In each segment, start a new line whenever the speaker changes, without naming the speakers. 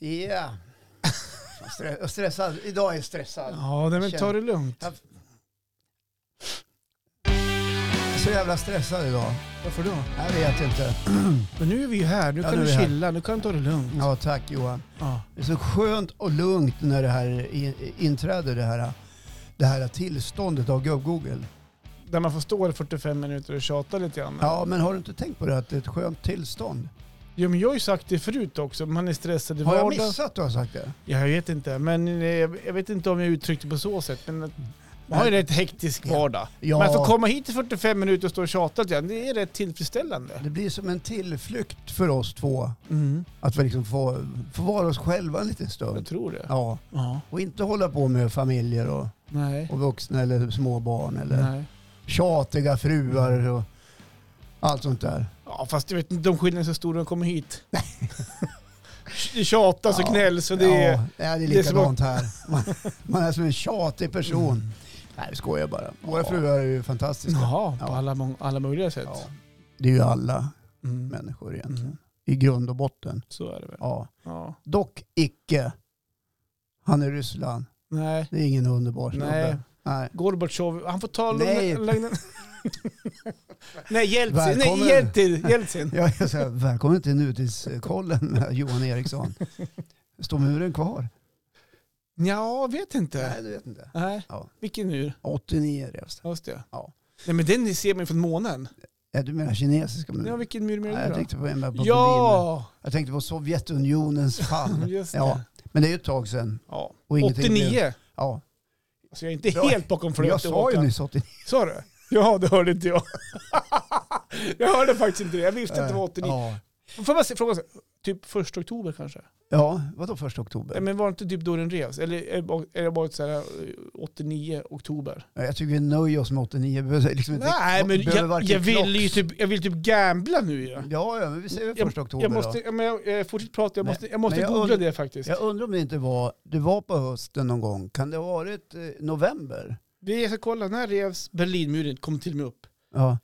Yeah. Jag stre- jag stressad. Idag är jag stressad.
Ja, nej, men ta det lugnt.
Jag- Jag är så jävla stressad idag.
Varför då?
Jag vet inte.
Men nu är vi ju här. Nu
Ja,
kan
nu
du
är vi här.
chilla. Nu kan du ta det lugnt.
Ja, tack Johan.
Ja.
Det är så skönt och lugnt när det här i- inträder, det här, det här tillståndet av gubb-Google.
Där man får stå i 45 minuter och tjata lite grann.
Ja, men har du inte tänkt på det att det är ett skönt tillstånd?
Jo, men jag har ju sagt det förut också. Man är stressad i
Har jag
vardagen.
missat att du har sagt det?
Ja, jag vet inte. Men eh, jag jag vet inte om jag uttryckte på så sätt. Men att man har ju en rätt hektisk vardag.
Mm. Ja.
Men att få komma hit i 45 minuter och stå och tjata lite grann, det är rätt tillfredsställande.
Det blir som en tillflykt för oss två.
Mm.
Att vi liksom får, får vara oss själva en liten
Jag
stund.
tror det.
Ja,
Ja.
och inte hålla på med familjer och,
Nej.
och vuxna eller små barn eller
Nej.
tjatiga fruar och allt sånt där.
Ja, fast jag vet inte om skillnaden är så stor när de kommer hit. Det tjatas och gnälls och det är...
ja, det är likadant här. Man, man är som en tjatig person. Nej, jag skojar bara. Våra
Mm. Ja.
fruar är ju fantastiska.
Jaha, på
Ja.
alla, mång- alla möjliga sätt.
Ja. Det är ju alla
Mm.
människor egentligen.
Mm.
I grund och botten.
Så är det väl.
Ja.
Ja.
Dock icke. Han är Ryssland.
Nej.
Det är ingen underbar snubbe.
Nej.
Nej.
Gorbatjov, han får ta
Nej.
lugna- lugna... Nej, Jeltsin.
Välkommen.
Nej, Jeltsin. Jeltsin.
Jag är så här, välkommen till nutidskollen med Johan Eriksson. Står muren kvar?
Ja, vet inte.
Nej, du vet inte.
Nej.
Ja.
Vilken nu?
89 revs
Just det.
Ja.
Nej, men den ser man ju från månen.
det. Du menar kinesiska muren?
Ja, vilken mur
Mm. Nej,
menar
jag
du då?
tänkte på, en med- på Berlin.
Ja!
jag tänkte på Sovjetunionens fall.
Just det.
Ja, men det är ju ett tag sedan.
Ja.
Och ingenting
89.
Ja.
Så Alltså, jag är inte
Ja.
helt bakom flötet.
Jag sa ju
Håkan.
nyss 89.
Sa du? Ja, det hörde inte jag. jag hörde faktiskt inte det. Jag visste att det var 89.
Ja,
Får man se- fråga, så här, typ första oktober kanske?
ja vadå första
Nej,
oktober?
Men var det inte typ då den revs? Eller är det bara- är det bara så här, eh, 89 oktober?
Ja, Jag tycker vi nöjer oss med 89. Vi behöver liksom inte-
Nej, men
behöver
jag,
varken
jag vill
klocks-
ju typ, jag vill typ gambla nu ju.
Ja, ja, men vi säger första oktober
jag
då.
måste, ja, men jag, jag fortsätter prata, jag
Men-
måste, jag måste
men jag
googla
und-
det faktiskt.
Jag undrar om det inte var, det var på hösten någon gång. Kan det ha varit eh, november?
Vi ska kolla, när revs Berlinmuren? Kom till och med upp.
Ja.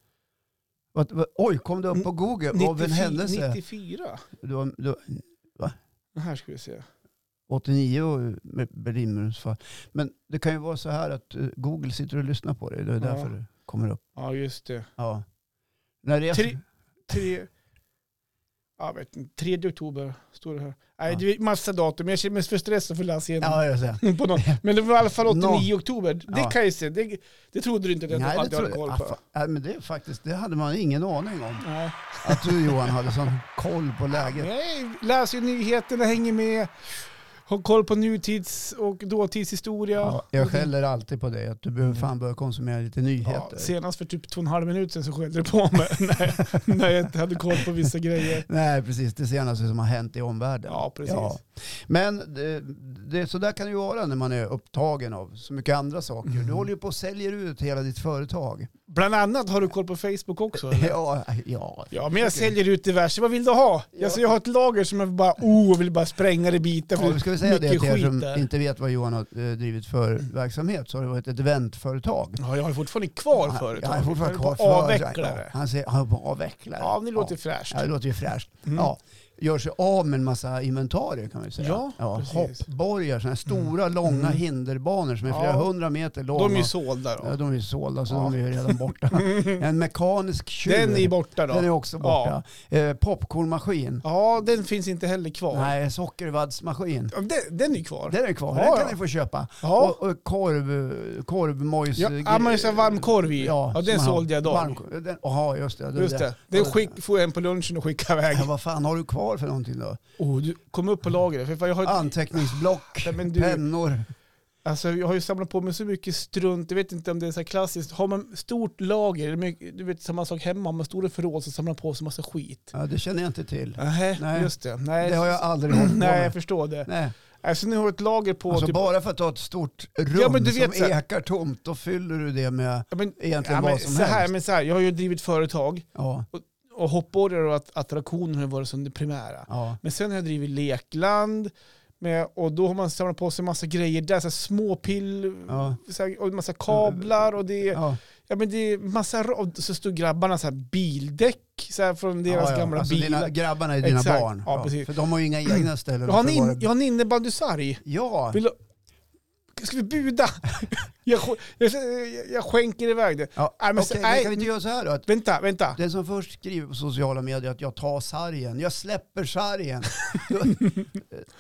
Vad- vad- Oj, kom det upp på Google av en
94
händelse?
94?
Det var, det var
Det Här ska vi se.
89 och med Berlinmurens fall. Men det kan ju vara så här att eh, Google sitter och lyssnar på dig. Det är
Ja.
därför det kommer upp.
Ja, just det.
Ja. När det är,
Tre- Tre, jag vet inte, 3 oktober står det här. Nej,
Ja.
det är massa datum. Jag känner mig för stressad för att läsa igenom.
ja, jag säger.
på någon. Men det var i alla fall 89
Nå.
oktober. Det
Ja.
kan jag ju se. Det, det trodde du inte att jag hade jag hade koll på.
Ah, fa- Nej, men det är faktiskt, det hade man ingen aning om.
Nej.
Att du Johan hade sån koll på läget.
Nej, läser ju nyheterna, hänger med, har koll på nutids och dåtidshistoria.
Ja, jag skäller alltid på dig att du behöver fan börja konsumera lite
Ja,
nyheter.
senast för typ två och en halv minut sedan så skällde du på mig när, när jag inte hade koll på vissa grejer.
Nej, precis. Det senaste som har hänt i omvärlden.
Ja, precis.
Ja. Men det, det, så där kan det ju vara när man är upptagen av så mycket andra saker.
Mm.
Du håller ju på och säljer ut hela ditt företag.
Bland annat har du koll på Facebook också? Eller?
Ja, ja.
Ja, men jag säljer ut diverse. Vad vill du ha?
Ja.
Alltså, jag har ett lager som jag bara, oh, jag vill bara spränga det i bitar. För
Ja, ska vi säga det
mycket
till er
skit
som
där.
inte vet vad Johan har eh, drivit för verksamhet så har det varit ett eventföretag.
Ja, jag har fortfarande kvar
Han-
företag.
Han är fortfarande kvar
på
för-
avvecklare.
Han säger han är på avvecklare.
Ja, men det låter fräscht.
ja, det låter ju fräscht.
Mm.
Ja, gör sig av med en massa inventarier kan man ju säga.
Ja, precis. Mm.
hoppborgar, sådana här stora långa hinderbanor som är flera
Ja.
hundra meter långa.
De är ju sålda då.
Ja, de är ju sålda så
Ja.
de är ju redan borta. En mekanisk tjur.
Den är borta då.
Den är också borta. Eh, popcornmaskin.
Ja, den finns inte heller kvar.
Nej, sockervaddsmaskin.
Ja, Den, den är kvar.
Den är kvar,
Ja,
den kan
ja.
ni få köpa.
Ja.
Och, och korv, korvmojs...
Ja, ja, man har varmkorv i. Ja, den
som man har.
sålde jag idag.
Varmkorv. Den- Jaha, just det.
Just det. Den skick, får jag en på lunchen och skickar iväg.
Ja, vad fan har du kvar för någonting då?
Oh, du, kom upp på lagret. För fan, jag, har,
Anteckningsblock,
Nej, men du-
pennor.
alltså, jag har ju samlat på mig så mycket strunt. Jag vet inte om det är så här klassiskt. Har man stort lager, det är mycket- du vet samma sak hemma, har man stora förråd så samlar man på sig massa skit.
Ja, det känner jag inte till.
Nej,
Nej.
just det. Nej,
Det har jag aldrig hållit på
Nej, jag
med.
förstår det.
Nej.
Alltså nu har jag ett lager på...
Alltså
typ,
bara för att ha ett stort rum
Ja, men du vet så
som
här-
ekar tomt, då fyller du det med
ja, men,
egentligen
ja, men,
vad som
så här,
helst.
men så här, jag har ju drivit företag
Ja,
och hoppborgar och att, attraktioner har varit som det primära.
ja.
Men sen har jag drivit lekland, Med, och då har man samlat på sig massa grejer där, så här små pill,
Ja.
så här, och massa kablar och det är,
Ja.
ja, men det är massa, ra- och så stod grabbarna så här bildäck så här, från deras
ja, ja.
gamla
alltså,
bilar.
dina, grabbarna är dina
Exakt.
barn.
Ja, precis.
För de har ju inga egna ställen.
Jag har, en
att förvara-
in, jag har en innebandysarg.
Ja,
Vill du, ska vi buda? jag, sk- jag, jag skänker iväg det.
ja.
Nej, men så-
Okej, men
nej.
kan vi inte göra så här då? Att
Vänta, vänta.
den som först skriver på sociala medier att jag tar sargen, jag släpper sargen, då,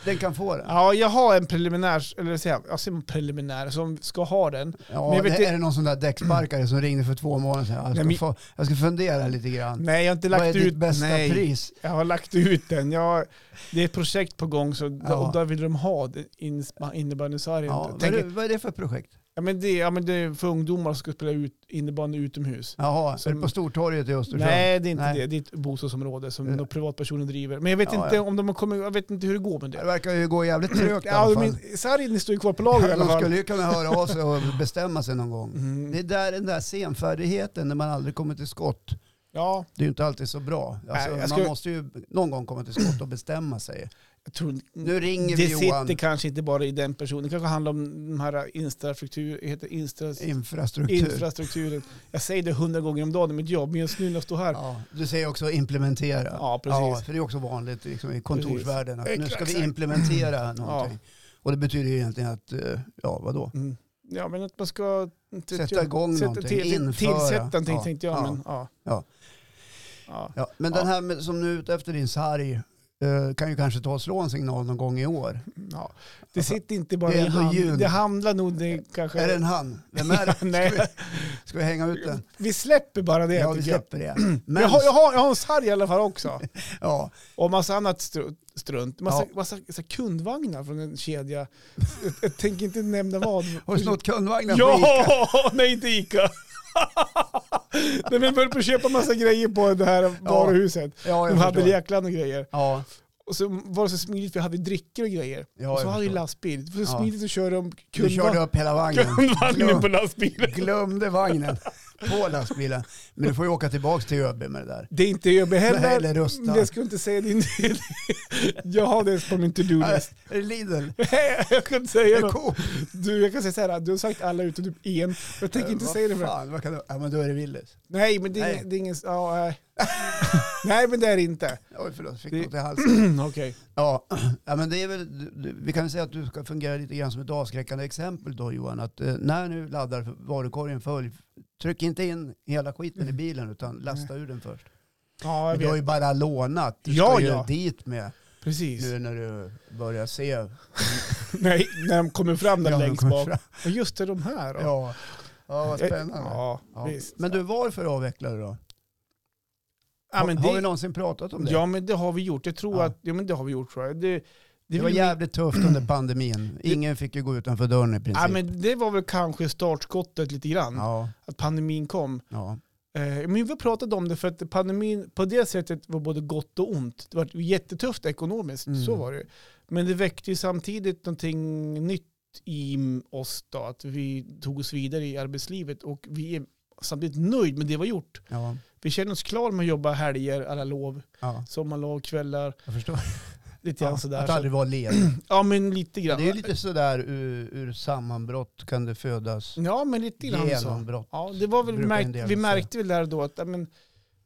den kan få den.
Ja, jag har en preliminär, eller säger jag, jag säger en preliminär som ska ha den.
Ja,
Men jag vet
det,
inte-
är det någon sån där däcksparkare som ringde för två månader sedan? Jag ska,
Nej, men-
få, jag ska fundera lite grann.
Nej, jag har inte
Vad
lagt
är
ut.
ditt bästa
nej,
pris?
jag har lagt ut den. Jag, det är ett projekt på gång så
Ja.
och där vill de ha det, inspa- innebandysargen.
Ja,
Jag
vad, är
tänker,
det, vad är det för projekt?
ja, men det, ja, men det är för ungdomar som ska spela ut innebandy utomhus.
Jaha, är
Som-
det på Stortorget i Östersund?
Nej, det är inte
Nej.
det. Det är ett bostadsområde som
Eh.
några privatpersoner driver. Men jag vet,
Ja,
inte,
ja.
Om de har kommit, jag vet inte hur det går med
Det
det.
verkar ju gå jävligt trögt i
Ja,
alla fall.
men sargen står ju kvar på lager i alla
De
fall.
skulle ju kunna höra av sig och bestämma sig någon gång.
Mm.
Det är där den där senfärdigheten när man aldrig kommer till skott.
Ja,
Det är ju inte alltid så bra. Alltså,
Nej, jag
Man
skulle-
måste ju någon gång komma till skott och bestämma sig.
jag tror
Nu ringer
Det
vi Johan.
sitter kanske inte bara i den personen. Det kanske handlar om de här infrastruktur, heter instra,
Infrastruktur.
infrastrukturen. Jag säger det hundra gånger om dagen i mitt jobb, men just nu när jag står här.
Ja, du säger också implementera.
Ja, precis.
för det är också vanligt liksom, i kontorsvärlden att nu ska
Exakt.
vi implementera någonting. Och det betyder ju egentligen att, eh, ja vadå?
Mm. Ja, men att man ska...
Sätta igång någonting, införa.
Tillsätta någonting
Ja,
tänkte jag,
ja,
men ja.
ja.
Ja.
Ja, men
Ja.
den här med, som nu är ute efter din sarg eh, kan ju kanske ta och slå en signal någon gång i år.
Ja. Det sitter inte bara
Alltså, det är
i
ändå juni.
hand. Det handlar nog det kanske...
Är det en han? Vem är det?
Nej,
Ska vi hänga ut den?
vi släpper bara det.
Ja,
tycker
vi
jag.
släpper det. Men,
Jag har, jag, har, jag har en sarg i alla fall också.
ja,
Och massa annat stru- strunt. Massa,
Ja.
massa, så här kundvagnar från en kedja. jag, jag tänker inte nämna vad.
har du snott kundvagnen på Ica?
Ja, nej inte Ica. nej, men jag höll på att köpa massa grejer på det här varuhuset.
Ja,
De
jag
hade
förstår.
jäklarna och grejer.
Ja,
Och så var det så smidigt för jag hade drycker och grejer.
Ja,
och så
jag
hade jag
förstår.
lastbil. Det var så
Ja.
smidigt att köra om
du körde
kundva-
upp hela vagnen.
kundvagnen på
Glöm,
lastbilen.
glömde vagnen på lastbilen. Men du får ju åka tillbaka till ÖB med det där.
Det är inte ÖB
Det här
heller.
är Rusta.
Men Jag ska inte säga din del. Jag har det på min
Äh,
to-do-list.
Är det Lidl?
jag kan inte
Är
säga
det
något.
Coop?
Du, jag kan säga så här, du har sagt alla utom typ en. Jag tänker inte
Äh, vad
säga det för
fan, vad kan du? Ja, men då är det Willys.
Nej, men det är,
Nej.
ingen- Det är ingen... Ja, nej. nej, men det är det inte.
Oj, förlåt. Fick
Det-
något i halsen.
Okej.
Ja, ja, men det är väl, du- du- vi kan väl säga att du ska fungera lite grann som ett avskräckande exempel då Johan. Att eh, när nu laddar varukorgen full, tryck inte in hela skiten
Mm.
i bilen utan lasta ur den först.
Ja, jag
Men du har ju
vet.
bara lånat. Du
Ja,
ska ju
ja.
dit med
Precis.
nu när du börjar se
Nej, när de kommer fram där
Ja, de
längst
kommer
bak.
fram.
Och just det, de här då. Eh,
Ja, ja vad spännande.
Ja,
Ja.
visst.
Men du, varför avvecklade du då?
ja, men det,
Har vi någonsin pratat om det?
Ja, men det har vi gjort. Jag tror
Ja.
att... Ja, men det har vi gjort tror jag. Det, det,
det var
vill-
jävligt tufft under pandemin. Ingen fick ju gå utanför dörren i princip.
Ja, men det var väl kanske startskottet lite grann.
ja,
Att pandemin kom.
ja.
Eh, Men vi pratade om det för att pandemin på det sättet var både gott och ont. Det var jättetufft ekonomiskt,
Mm.
så var det. Men det väckte ju samtidigt någonting nytt i oss då, att vi tog oss vidare i arbetslivet och vi är samtidigt nöjd med det vi har gjort.
Ja,
Vi känner oss klara med att jobba helger, alla lov,
ja,
sommarlov, kvällar,
jag förstår.
lite grann
Ja,
sådär.
att
Så,
aldrig vara ledig.
ja, men lite
Det
grann.
är ju lite sådär ur, ur sammanbrott kan det födas
Ja, men lite grann så.
genombrott.
Ja, det var väl
Brukar en
märkt,
del
vi
säga.
märkte väl där då att, ja, men,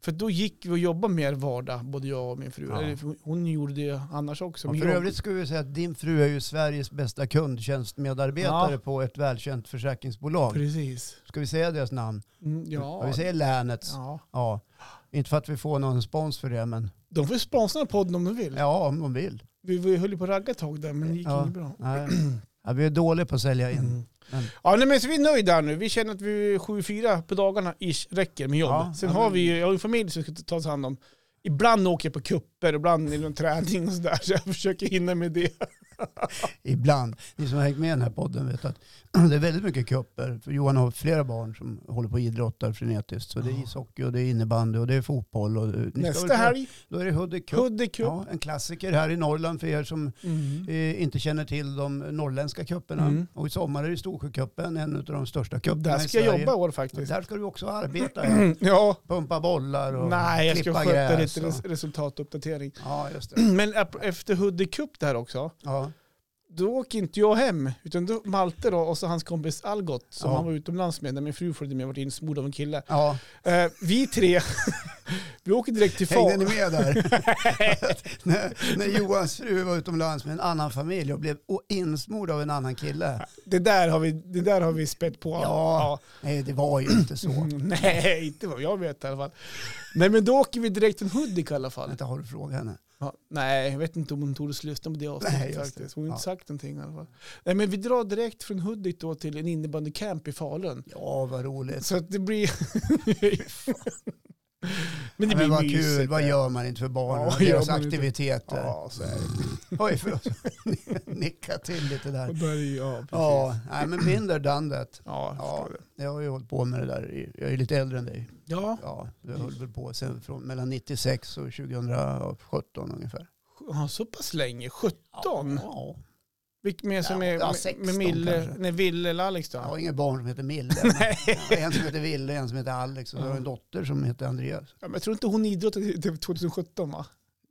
för då gick vi och jobbade mer vardag, både jag och min fru.
Ja.
Eller, för Hon gjorde det annars också.
Ja,
men
för
jag-
övrigt skulle vi säga att din fru är ju Sveriges bästa kundtjänstmedarbetare
Ja.
på ett välkänt försäkringsbolag.
Precis.
Ska vi säga deras namn?
Mm, ja.
Vi säger länets.
ja.
Ja, inte för att vi får någon spons för det, men
De får ju sponsra podden om de vill.
ja, om de vill.
Vi, vi höll ju på att ragga ett tag där, men det gick
Ja.
inget bra.
Nej. Ja, vi är dåliga på att sälja in.
Mm.
Men-
Ja, nej, men så vi är nöjda här nu. Vi känner att vi 7-4 på dagarna ish räcker med jobb.
Ja,
Sen
ja,
har
men-
vi ju, jag har ju familj som ska ta sig hand om. Ibland åker jag på kupper, ibland är det någon träning och sådär. Så jag försöker hinna med det.
Ibland. Ni som har hängt med i den här podden vet att det är väldigt mycket kupper. För Johan har flera barn som håller på och idrottar frenetiskt. Så det är
Ja.
ishockey och det är innebandy och det är fotboll. Och, eh, ni ska
Nästa
väl-
helg,
Då är det Hudik Cup.
Hudik Cup.
Ja, en klassiker här i Norrland för er som
Mm.
eh, inte känner till de norrländska cuperna.
Mm.
Och i sommar är det Storsjöcupen, en av de största cuperna
Där
i
ska
Sverige.
jag jobba i år
Och
faktiskt.
Där ska du också arbeta.
Ja.
Pumpa bollar och
Nej, jag ska
klippa
sköta
gräs.
lite
och-
res- resultatuppdatering.
Ja, just det.
Men ap- efter Hudik Cup där också,
Ja.
då åker inte jag hem, utan då, Malte då och så hans kompis Algot som
Ja.
han var utomlands med, när min fru följde med, vart insmord av en kille.
Ja,
Eh, vi tre, vi åker direkt till
hängde
far.
ni med där? när, när Johans fru var utomlands med en annan familj och blev o- insmord av en annan kille.
Det där har vi, det där har vi spett på.
Ja. Nej, det var ju inte så.
Mm, Nej, inte vad jag vet i alla fall. Nej, men då åker vi direkt till Hudik i alla fall.
Vänta, har du frågat henne?
Ja, nej, jag vet inte om hon tordes lyssna på det
Nej,
avsnittet
just det.
faktiskt. Hon har inte
Ja.
sagt någonting i alla fall. Nej, men vi drar direkt från Hudik då till en innebandycamp i Falun.
Ja, vad roligt.
Så att det blir... men det
Men
blir
vad
mysigt.
kul, vad
det.
gör man inte för barnen
Ja,
och
gör
deras
man inte.
aktiviteter?
Ja, så är det.
Oj, förlåt. Nicka till lite
Och
där.
då är det ju- ja, precis.
Ja,
Ja,
nej, men binder done that.
jag
Ja.
förstår det.
Jag har ju hållit på med det där. i- Jag är lite äldre än dig.
Ja,
Ja, jag höll väl på sen från mellan 96 och 2017 ungefär.
ja, så pass länge. 17?
Ja.
Vilket mer som är
Ja,
med,
16
med Mille,
kanske.
nej, Ville eller Alex då?
Jag har inga barn som heter Mille. Men
Nej.
jag har en som heter Ville, en som heter Alex och så har jag en dotter som heter Andreas.
Ja, men jag tror inte hon idrottade till 2017 va?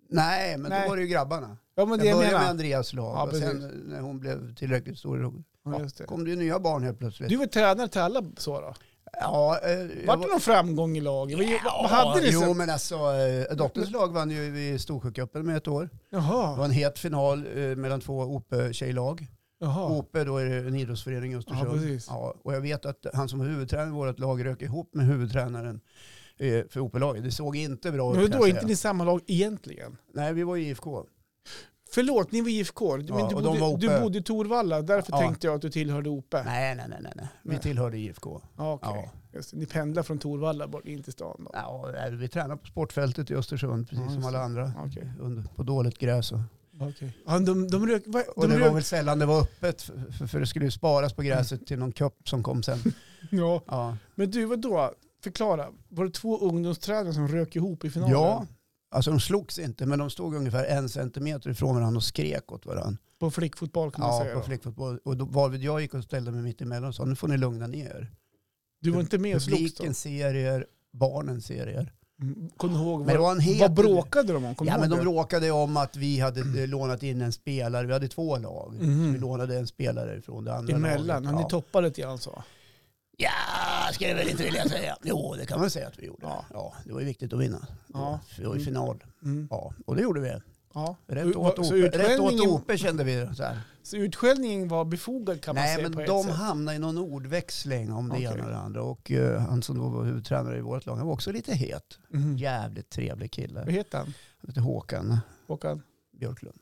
Nej, men
Nej.
då var det ju grabbarna.
Ja men det
jag
jag
började med
menar.
Andreas lag
Ja,
och sen när hon blev tillräckligt stor då
Ja, just det.
kom det ju nya barn helt plötsligt.
Du var tränare till alla så då?
Ja, eh, jag
Vart
var-
det någon framgång i laget? Vad- Vad hade ni?
Jo,
sen?
men alltså eh, dotterns lag vann ju i Storsjöcupen med ett år. Det var
Jaha.
en het final eh, mellan två OPE-tjejlag.
Jaha.
OPE då är det en idrottsförening i
Ja,
Östersund.
precis.
Ja, och jag vet att han som var huvudtränare i vårt lag rök ihop med huvudtränaren eh, för OPE-laget. Det såg inte bra ut kan
Men då
jag
är
säga.
inte ni samma lag egentligen?
Nej, vi var i IFK.
Förlåt, ni var
Ja,
IFK. men du,
och de var
bodde,
OP.
du bodde i Torvalla, därför
Ja.
tänkte jag att du tillhörde OP.
Nej, nej, nej, nej. nej. Vi
Nej.
tillhörde IFK.
Ja, okej.
Ja.
Just det. Ni pendlar från Torvalla bort in till stan då?
Ja, nej, vi tränade på sportfältet i Östersund, precis
Ja, just
som alla
det.
andra.
Okej.
Under, på dåligt gräs. Och,
Okej. Ja, de, de rök... vad-
och
de
det
rök
var väl sällan det var öppet, för, för- för det skulle ju sparas på gräset till någon cup som kom sen.
ja.
Ja.
Men du, vad då? Förklara. Var det två ungdomstränare som rök ihop i finalen?
Ja, alltså de slogs inte men de stod ungefär en centimeter ifrån varandra och skrek åt varandra.
På flickfotboll kan man
Ja,
säga.
på
då.
flickfotboll. Och då, varvid jag gick och ställde mig mitt emellan och sa nu får ni lugna ner
Du var inte med och
er.
slogs då?
Publiken ser er, barnen ser er.
Mm, Kom du ihåg,
Men det
vad,
var en het...
vad bråkade de om? Kom
Ja,
du
men de
ihåg
bråkade om att vi hade eh, lånat in en spelare. Vi hade två lag.
det? Mhm.
Vi lånade en spelare från det andra
Emellan,
laget.
ja. ni
Ja.
toppade lite grann så.
Ja, skulle jag väl inte vilja säga. Jo, det kan man säga att vi gjorde.
Ja.
Ja, det var ju viktigt att vinna.
Ja.
Ja. Vi var i
Mm.
final.
Mm.
Ja, och det gjorde vi.
Ja.
Rätt
Och-
åt
så
OP, rätt åt
utskällningen-
OP kände vi. Så här.
Så utskällningen var befogad kan man
Nej,
säga
men
på ett
de
sätt.
hamnade i någon ordväxling om det
Okej.
ena och det andra. Och eh, han som då var huvudtränare i vårt lag, han var också lite het.
Mhm.
Jävligt trevlig kille.
Vad
Han
heter han?
heter Håkan
Håkan?
Björklund.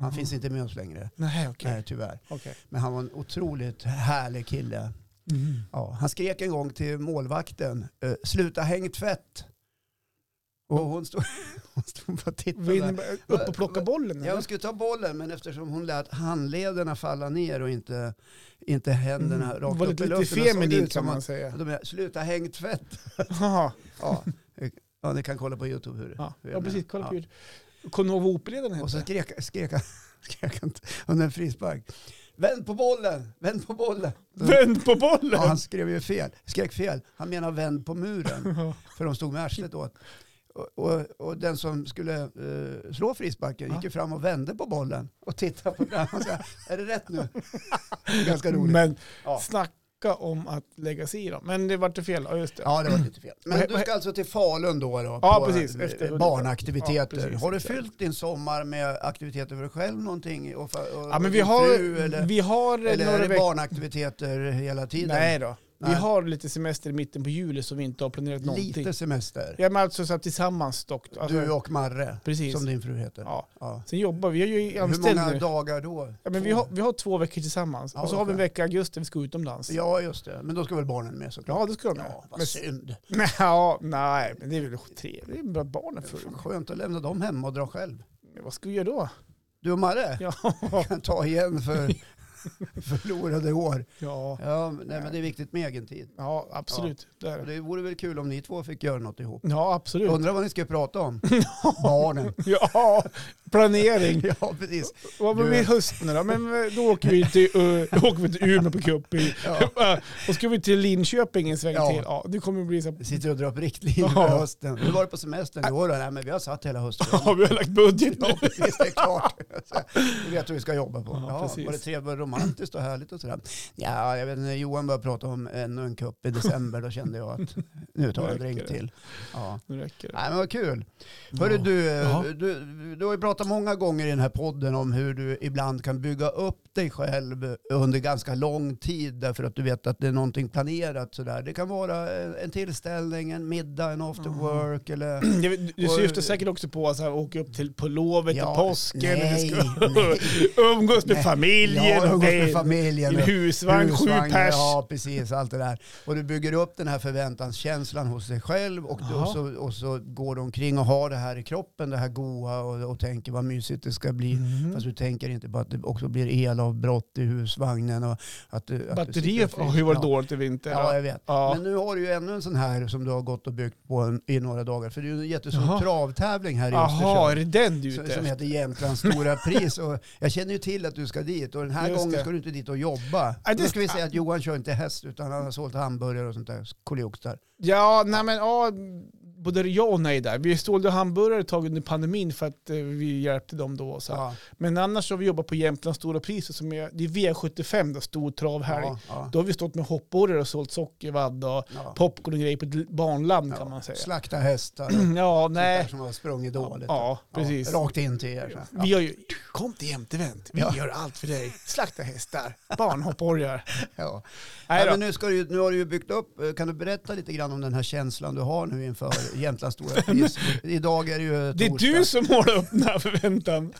Han finns inte med oss längre,
Nej, okej.
nej, tyvärr.
Okej.
Men han var en otroligt härlig kille. Ja, han skrek en gång till målvakten, eh, sluta häng tvätt. Och hon stod, hon stod bara och tittade.
Vill ni bara upp och plocka bollen?
Ja,
eller?
hon skulle ta bollen, men eftersom hon lät handlederna falla ner och inte, inte händerna
Mm.
rakt
var
upp i
lite,
luften.
lite
så såg det
feminin
ut som
kan man
att-
säga.
de är, Sluta häng tvätt.
Jaha.
Ja. eh, ja, ni kan kolla på YouTube hur det
Ja,
hur
ja
jag
precis.
menar.
Kolla på
Ja.
ljud. Kommer du ihåg vad OP-ledaren
Och så
hette?
skrek, skrek, han- skrek han under en frispark. Vänd på bollen, vänd på bollen.
Vänd på bollen!
Ja, han skrev ju fel, skrek fel. Han menar vänd på muren,
Ja.
för de stod med arslet åt. Och, och, och den som skulle eh, slå frisparken gick ju fram och vände på bollen och tittade på den. Och så här, är det rätt nu? Ganska roligt.
Men
Ja.
snacka om att lägga sig i dem. Men det vart det fel. Ja, just det.
Ja, det var lite fel. Men
Vad-
du
vad-
ska alltså till Falun då? då
Ja,
på
precis.
eh,
Efter- Ja,
barnaktiviteter.
precis.
har du fyllt din sommar med aktiviteter för dig själv någonting? Och för, och,
Ja, men
och
vi
din
har,
fru, eller
vi har
eller är
några
det
veckor.
barnaktiviteter hela tiden?
Nej då. Vi
Nej.
har lite semester i mitten på juli som vi inte har planerat någonting.
Lite semester.
Ja, men alltså så att tillsammans dock. Alltså,
Du och Marre,
Precis.
som din fru heter.
Ja.
Ja.
Sen jobbar vi. Jag är ju
Hur
anställd
många
nu.
dagar då?
Ja, men vi,
Två.
har, vi har två veckor tillsammans.
Ja,
och så
vad
har vi en
skönt.
vecka i augusti vi ska utomlands. Ja,
Ja, just det. Men då ska väl barnen med såklart?
det ska de
Ja,
ja,
vad
men,
synd.
ja, Nej, men det är väl trevligt. Det är bra barnen för.
Fan, Skönt att lämna dem hemma och dra själv.
Men Vad ska vi göra då?
Du och Marre
Ja,
kan ta igen för förlorade år.
Ja,
Ja, men- nej, men det är viktigt med egen tid.
ja absolut. Det är
Och
det.
Det vore väl kul om ni två fick göra något ihop.
Ja, absolut.
Undrar vad ni ska prata om? Barnen.
Ja, planering.
Ja, precis.
Vad blir det i höst nu då? Men eh, då åker vi till, eh, då åker vi till Umeå på cup. i-
Ja.
Eh, Och ska vi till Linköping en sväng
Ja.
till. Ja, det kommer bli så.
Vi Sitter och drar upp riktlinjer
Ja.
för hösten. Hur var det på semestern i år då? Nej, men vi har satt hela hösten.
Ja, vi har lagt budget nu.
Ja, precis, det är klart. Så, Vi vet hur vi ska jobba på.
Ja,
Ja,
precis.
var det trevligt och romantiskt och härligt och sådär? Ja, jag vet inte, Johan började prata om ännu en cup i december. Då kände jag att nu tar jag en
Nu räcker
drink
det.
till. Ja.
Nu räcker det.
Nej, men vad kul. Hörru,
Ja.
du,
Ja.
du, du har ju pratat många gånger i den här podden om hur du ibland kan bygga upp dig själv under ganska lång tid därför att du vet att det är någonting planerat sådär. Det kan vara en en tillställning, en middag, en after
Mm.
work eller...
Det- Du syftar säkert också på att så här, åka upp till, på lovet
Ja,
och påsken.
nej,
vi ska
nej.
umgås med
Nej.
familjen.
Ja, umgås
nej,
med familjen.
i Husvagn, sju pers.
Ja, precis. Allt det där. Och du bygger upp den här förväntanskänslan hos dig själv och,
Jaha.
och, så, och så går du omkring och har det här i kroppen, det här goa och, och tänker vad mysigt det ska bli.
Mhm.
Fast du tänker inte på att det också blir elavbrott i husvagnen och att du... Att
Batteriet har ju
då.
varit dåligt i vinter.
Ja, jag vet.
Ja.
Men nu har du ju ännu en sån här som du har gått och byggt på en, i några dagar. För det är ju en jättestor
Jaha.
travtävling här i
Jaha, är det Ah, den du är
som,
ute
som heter
efter?
Jämtlands stora pris. Och jag känner ju till att du ska dit och den här
Just
gången
det.
ska du inte dit och jobba.
Ja, det
Då ska vi
ska-
säga att Johan kör inte häst utan han har sålt hamburgare och sånt där. Kolioxar.
Ja, nej men ja, både ja och nej där. Vi sålde hamburgare ett tag under pandemin för att eh, vi hjälpte dem då. och Så.
Ja,
Men annars har vi jobbat på Jämtlands stora priset som är, det är V75 då, stor travhelg.
ja, ja,
Då har vi stått med hoppborrar och sålt sockervadd och
ja.
popcorn och grejer på ett barnland
Ja.
kan man säga.
Slakta hästar och
Ja,
sånt där
nej.
som har sprungit dåligt.
Ja, precis.
rakt in till er. så här.
Vi har ju, kom till Jämtevent, vi
Ja.
gör allt för dig. Slakta hästar, barnhoppborgar.
Ja.
Nej
Nej,
då.
men nu, ska du, ju- nu har du ju byggt upp, eh, kan du berätta lite grann om den här känslan du har nu inför Jämtlands stora pris? Idag är det ju
Det är
torsdag.
du som målar upp den här förväntan.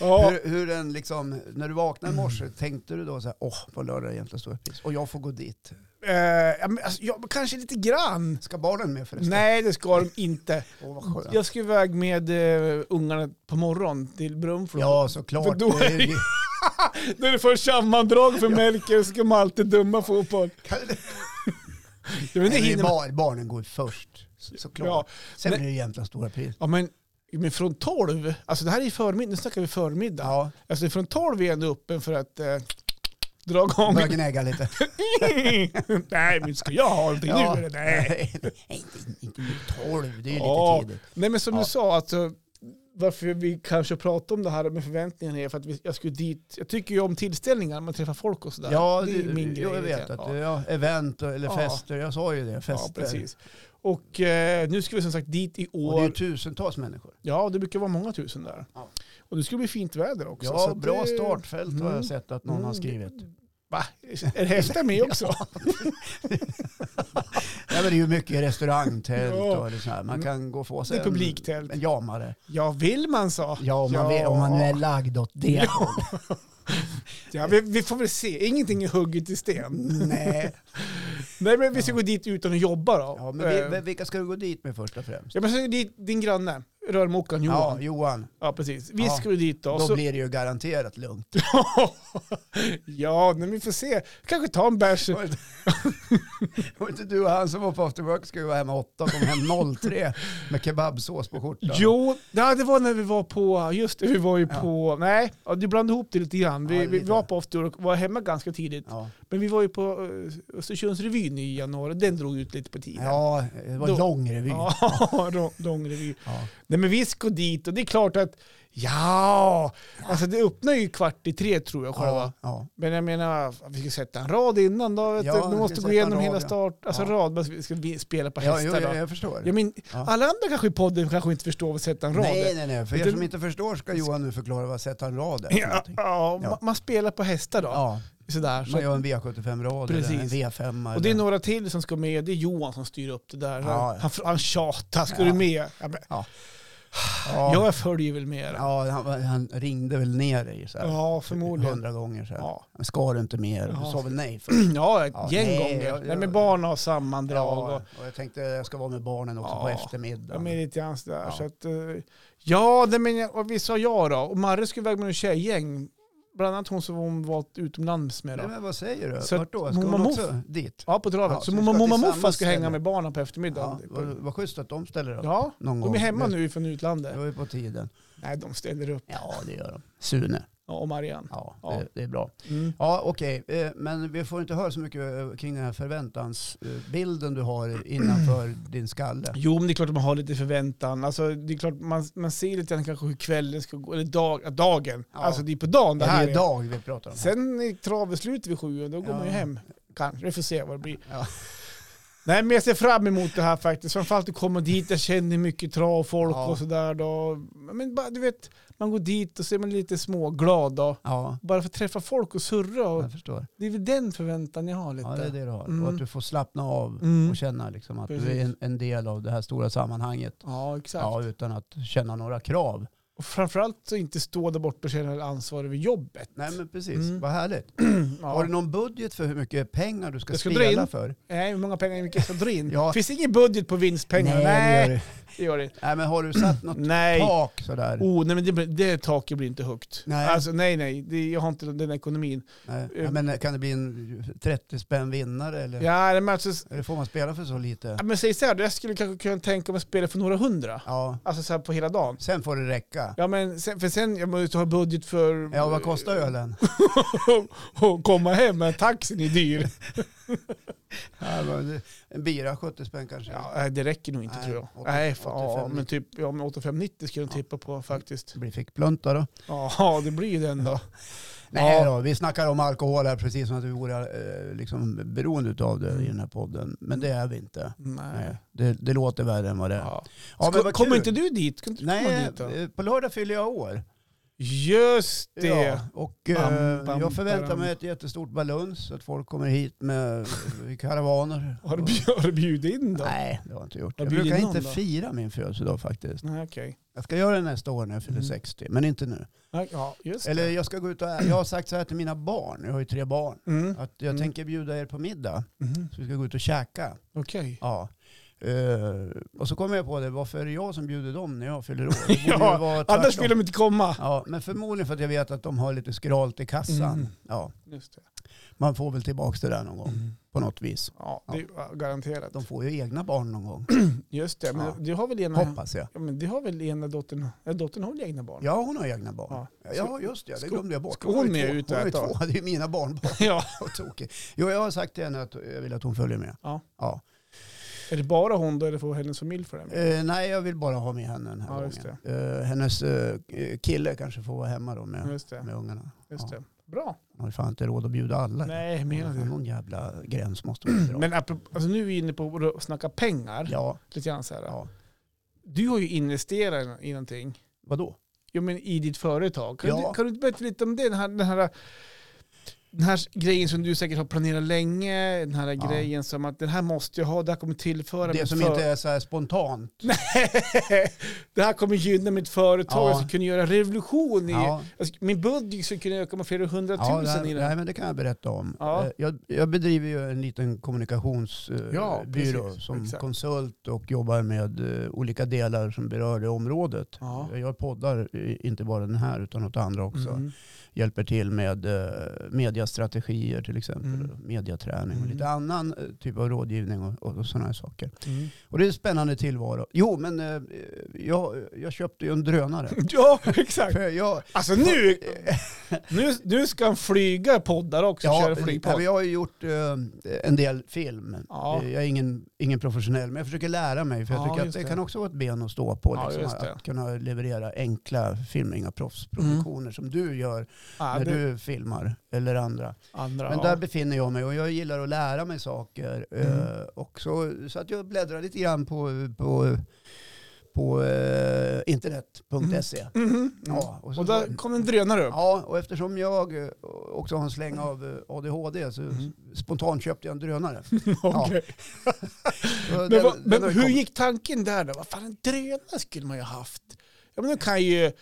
Ja,
Hur, hur den liksom, när du vaknade i morse, tänkte du då så här, åh, på lördag är Jämtlands stora pris och jag får gå dit.
eh, ja, men alltså, ja, kanske lite grann.
Ska barnen med förresten?
Nej, det ska de inte.
Åh, vad skönt.
Jag ska iväg med eh, ungarna på morgon till Brunflo.
Ja,
För
såklart.
då
Det är ju-
Då är det först sammandrag för Melker och så ska Malte döma fotboll. Jag vet inte,
Nej, men
hinner man-
bar- barnen går ju först, så- såklart.
Ja,
Sen
men-
blir det Jämtlands stora pris.
ja, men, men från 12, alltså det här är ju förmiddag, nu snackar vi förmiddag.
Ja,
Alltså från 12 är jag ändå öppen för att eh, dra igång.
börja gnägga lite.
Nej, men ska jag ha någonting
Ja.
nu eller? Nej.
Nej, inte, inte nu tolv, det är ju
Ja.
lite tidigt.
Nej men som
Ja.
du sa, alltså, varför vi kanske pratar om det här med förväntningarna är för att vi, jag skulle dit. Jag tycker ju om tillställningar, man träffar folk och sådär.
Ja,
det är ju min grej.
jag vet
lite.
att
ja.
ja, event och- eller
Ja.
fester, jag sa ju det, fester.
ja, precis. Och eh, nu ska vi som sagt dit i
Och det är ju
år.
tusentals människor.
Ja, det brukar vara många tusen där.
Ja.
Och det ska bli fint väder också. så
Ja,
att
bra
det-
startfält har
Mm.
jag sett att någon har
Mm.
skrivit.
Va? Är hästar med också?
Nej, men det är ju mycket restaurangtält
Ja.
och det så här. Man kan gå och få sig
Det är
en-
publiktält.
En jamare.
Ja, vill man så.
Ja, om man,
Ja.
Vet, om man nu är lagd åt det hållet.
Ja, vi, vi får väl se. Ingenting är hugget i sten.
Nej.
Nej, men vi ska gå dit utan att jobba då.
Ja, men vi,
Eh,
men vilka ska du gå dit med först och främst?
Ja, men så är det din granne, rörmokaren Johan.
Ja,
Ja,
Johan.
precis. Vi
Ja.
ska ju dit då.
Då
så...
blir det ju garanterat lugnt.
ja, men vi får se. Kanske ta en bärs.
Var inte- Var inte du och han som var på after work skulle vara hemma åtta och kom hem 03 med kebabsås på skjortan?
Jo, ja, det var när vi var på, just det, vi var ju
Ja.
på, nej, ja, du blandade ihop det lite grann. Vi,
Ja,
vi
lite.
var på after och var hemma ganska tidigt.
Ja,
Men vi var ju på eh, Östersundsrevyn i januari, den drog ut lite på tiden.
ja det var
Då-
en lång revy. Ja.
Ja, lång- lång revy. Nej men vi ska dit och det är klart att, ja, alltså det öppnar ju kvart i tre tror jag själva.
Ja, ja.
Men jag menar, vi ska sätta en rad innan då. Vet
Ja,
du.
vi
Vi
ska
måste
sätta
gå
en
igenom
rad,
hela
ja.
start, alltså
Ja.
rad, men vi ska vi spela på
ja
hästar
jo,
då.
jag, jag förstår.
Jag men,
Ja.
Alla andra kanske i podden kanske inte förstår vad sätta en rad
Nej,
är.
nej, nej. För er
Utan-
som inte förstår ska Johan nu förklara vad sätta en rad är. för
Ja,
någonting.
ja,
Ja.
ma- Man spelar på hästar då.
ja.
Sådär. Så.
Man gör en V75-rad eller en
Precis.
V5.
och det är
eller-
några till som ska med. Det är Johan som styr upp det där.
Ja, ja.
Han, han tjatar, ska
Ja.
du med? Ja, men,
ja.
Jag följer väl med. Ja,
Ja, han, var- han ringde väl ner dig så här,
förmodligen.
hundra gånger. Så här.
Ja.
Men Ska du inte mer? Du
Ja. Mm.
sa väl nej? För...
ja, ett
Ja,
gäng
nej,
gånger.
jag-
nej,
jag-
men barn har sammandrag.
Ja,
Och,
och jag tänkte jag ska vara med barnen också
Ja.
på
Ja,
eftermiddagen.
men lite grann sådär.
Ja.
Så att, eh, ja, det men jag, och vi sa ja då. Och Marre skulle iväg med en tjejgäng. bland annat hon som hon valt utomlands med.
Nej,
Då.
men vad säger du?
Så att
Vart då? Ska hon
mormor-
också dit?
Ja, på travet.
Ja,
så
så vi
mormor
ska
mormor och
till
morfar
samma
ska hänga
ställe.
med barnen på eftermiddagen.
Ja, vad, vad schysst att de ställer upp
Ja,
någon gång.
de är hemma
Det-
nu från utlandet.
Det var ju på tiden.
Nej, de ställer upp.
Ja, det gör de. Sune.
Ja, och Marianne.
Ja,
Ja.
Det, det är bra.
Mm.
Ja, okej. Eh, Men vi får inte höra så mycket eh, kring den här förväntansbilden du har innanför din skalle.
Jo, men det är klart att man har lite förväntan. Alltså, det är klart man, man ser lite grann kanske hur kvällen ska gå, eller dag, ja, dagen.
Ja.
Alltså det är på dagen det
Ja,
här
det är dag vi pratar om.
Sen är travet slut vid sju och då går
Ja.
man ju hem. Kanske, vi får se vad det blir.
Ja.
Nej, men jag ser fram emot det här faktiskt. Framförallt att komma dit, jag känner mycket trav och folk
Ja.
och sådär då. Men bara, du vet, man går dit och så är man lite småglad då.
Ja,
Bara för att träffa folk och surra. Och
jag förstår.
det är väl den förväntan jag har lite.
Ja, det är det du har.
Mm.
Och att du får slappna av
Mm.
och känna liksom att du
Precis.
är en, en del av det här stora sammanhanget.
Ja, exakt.
Ja, utan att känna några krav.
Och framförallt så inte stå där borta och känna ansvar över jobbet.
Nej, men precis.
Mm.
Vad härligt.
Ja.
Har du någon budget för hur mycket pengar du ska,
Jag ska dra
spela
in.
för?
Nej, hur många pengar är mycket jag dra in?
Ja.
Finns det ingen budget på vinstpengar?
Nej, det gör du.
det gör det.
Nej, men har du satt något
Nej.
tak sådär?
Oh, nej men det, blir- det taket blir inte högt. Nej.
Nej.
Alltså nej, nej, det, jag har inte den ekonomin.
Nej. Ja, men kan det bli en 30 spänn vinnare eller?
eh. Ja, nej, men, alltså, s-
Eller får man spela för så lite?
ja, men säg så här, då, jag skulle kanske kunna tänka mig att spela för några hundra.
Ja,
Alltså så här på hela dagen.
sen får det räcka.
Ja men sen, för sen, jag måste ha budget för...
Ja, vad kostar ölen?
att komma hem, men taxin är dyr.
Ja, men En bira, 70 spänn kanske.
Ja, nej, det räcker nog inte
Nej,
tror jag.
85,
nej, fan, ja,
85.
men typ ja, men 8590 skulle jag tippa
Mm.
på faktiskt.
Det blir fickplunta då.
Ja, det blir ju den då.
Nej
Ja.
då, vi snackar om alkohol här precis som att vi vore eh, liksom, beroende av det i den här podden. Men det är vi inte.
Nej.
Nej. Det, det låter värre än vad det är.
Ja.
Ja, men
Ska-
vad
kommer
kul.
inte du dit? Ska inte du komma
Nej,
dit då?
eh, på lördag fyller jag år.
Just det.
Ja, och eh,
Bam, bam,
jag förväntar
bam.
mig ett jättestort baluns så att folk kommer hit med eh, karavaner.
Har du, bjud- har du bjudit in då?
Nej, det har jag inte gjort.
Har
Jag
du bjudit
brukar
någon
inte
då?
fira min födelsedag faktiskt.
Nej, okej.
Jag ska göra det nästa år när jag fyller
Mm.
60, men inte nu.
Nej, Ja, just det.
Eller jag ska gå ut och ä- Jag har sagt så här till mina barn, jag har ju tre barn,
Mm.
att jag
Mm.
tänker bjuda er på middag.
Mhm.
Så vi ska gå ut och käka.
Okej.
Ja. Eh, och så kommer jag på det, varför är det jag som bjuder dem när jag fyller år? Det borde
Ja,
ju vara
Annars
tvärtom.
vill de inte komma.
Ja, men förmodligen för att jag vet att de har lite skralt i kassan.
Mm.
Ja,
Just det.
man får väl tillbaka det där någon gång på något vis.
Mm. Ja, det är garanterat.
De får ju egna barn någon gång,
Just det, men
Ja.
du har väl ena...
hoppas jag.
Ja, men du har väl ena dottern... Ja, dottern har väl egna barn?
Ja, hon har egna barn.
Ja.
Ja,
Ska-
just det. Det
ska-
glömde jag bort.
ska hon
har ju
med
två-
ut och
Hon har ju
äta?
två. Det är mina barnbarn.
ja.
Vad tokigt. Jo, jag har sagt till henne att jag vill att hon följer med.
Ja.
ja.
Är det bara hon då eller får hennes familj för det?
Eh, nej, jag vill bara ha med henne den här
Ja, just
gången. Eh, hennes eh, kille kanske får vara hemma då med,
Just det.
med ungarna.
Just
Ja.
det. Bra.
Hon har ju fan inte råd att bjuda alla.
Nej, jag menar det.
Någon jävla gräns måste man ju dra.
Men apropå, alltså, nu är vi inne på att snacka pengar.
ja,
Lite grann så här.
ja.
Du har ju investerat i någonting.
Vadå?
ja, men i ditt företag. Kan,
Ja.
du, kan du inte berätta lite om det? Den här, den, här, den här grejen som du säkert har planerat länge, den här
Ja.
grejen som att den här måste jag ha, det här kommer tillföra
Det
mitt
som
för-
inte är så här spontant.
det här kommer gynna mitt företag,
Ja.
jag ska kunna göra revolution i...
Ja,
Jag ska, min budget skulle kunna öka med flera
ja
hundratusen
det, här,
i
det,
den.
här, men det kan jag berätta om.
Ja.
Eh, Jag, jag bedriver ju en liten kommunikationsbyrå
Ja, precis.
som
Exakt.
konsult och jobbar med eh, olika delar som berör det området.
Ja.
Jag gör poddar, eh, inte bara den här utan åt andra också.
Mm.
Hjälper till med eh, mediastrategier till exempel,
Mm.
och mediaträning och lite
Mm.
annan eh, typ av rådgivning och, och, och sådana här saker.
Mm.
Och det är en spännande tillvaro. Jo, men eh, jag, jag köpte ju en drönare.
Ja, exakt.
För jag,
Alltså nu, nu, nu ska han flyga poddar också, köra
nej, men
flygpodd.
jag har ju gjort eh, en del film.
Ja.
Eh, Jag är ingen, ingen professionell, men jag försöker lära mig. För jag
Ja,
tycker att
just
det,
det.
kan också vara ett ben att stå på.
Ja, just
liksom,
det.
att kunna leverera enkla filmningar, proffsproduktioner som du gör
Mm. Ja,
när
det,
du filmar eller andra.
andra,
Men
ja.
där befinner jag mig och jag gillar att lära mig saker. Eh,
Mm.
och så, så att jag bläddrar lite grann på, på, på eh, internet.se.
Mhm, mhm.
Ja, och så-
Och där kom en drönare upp.
Ja, och eftersom jag eh, också har en släng av eh, ADHD så
Mm.
spontant köpte jag en drönare.
Okej.
Och
Men,
den-
vad-
den
men
har ju
hur
kommit.
gick tanken där då? Vad fan, en drönare skulle man ju haft. Ja, men nu kan ju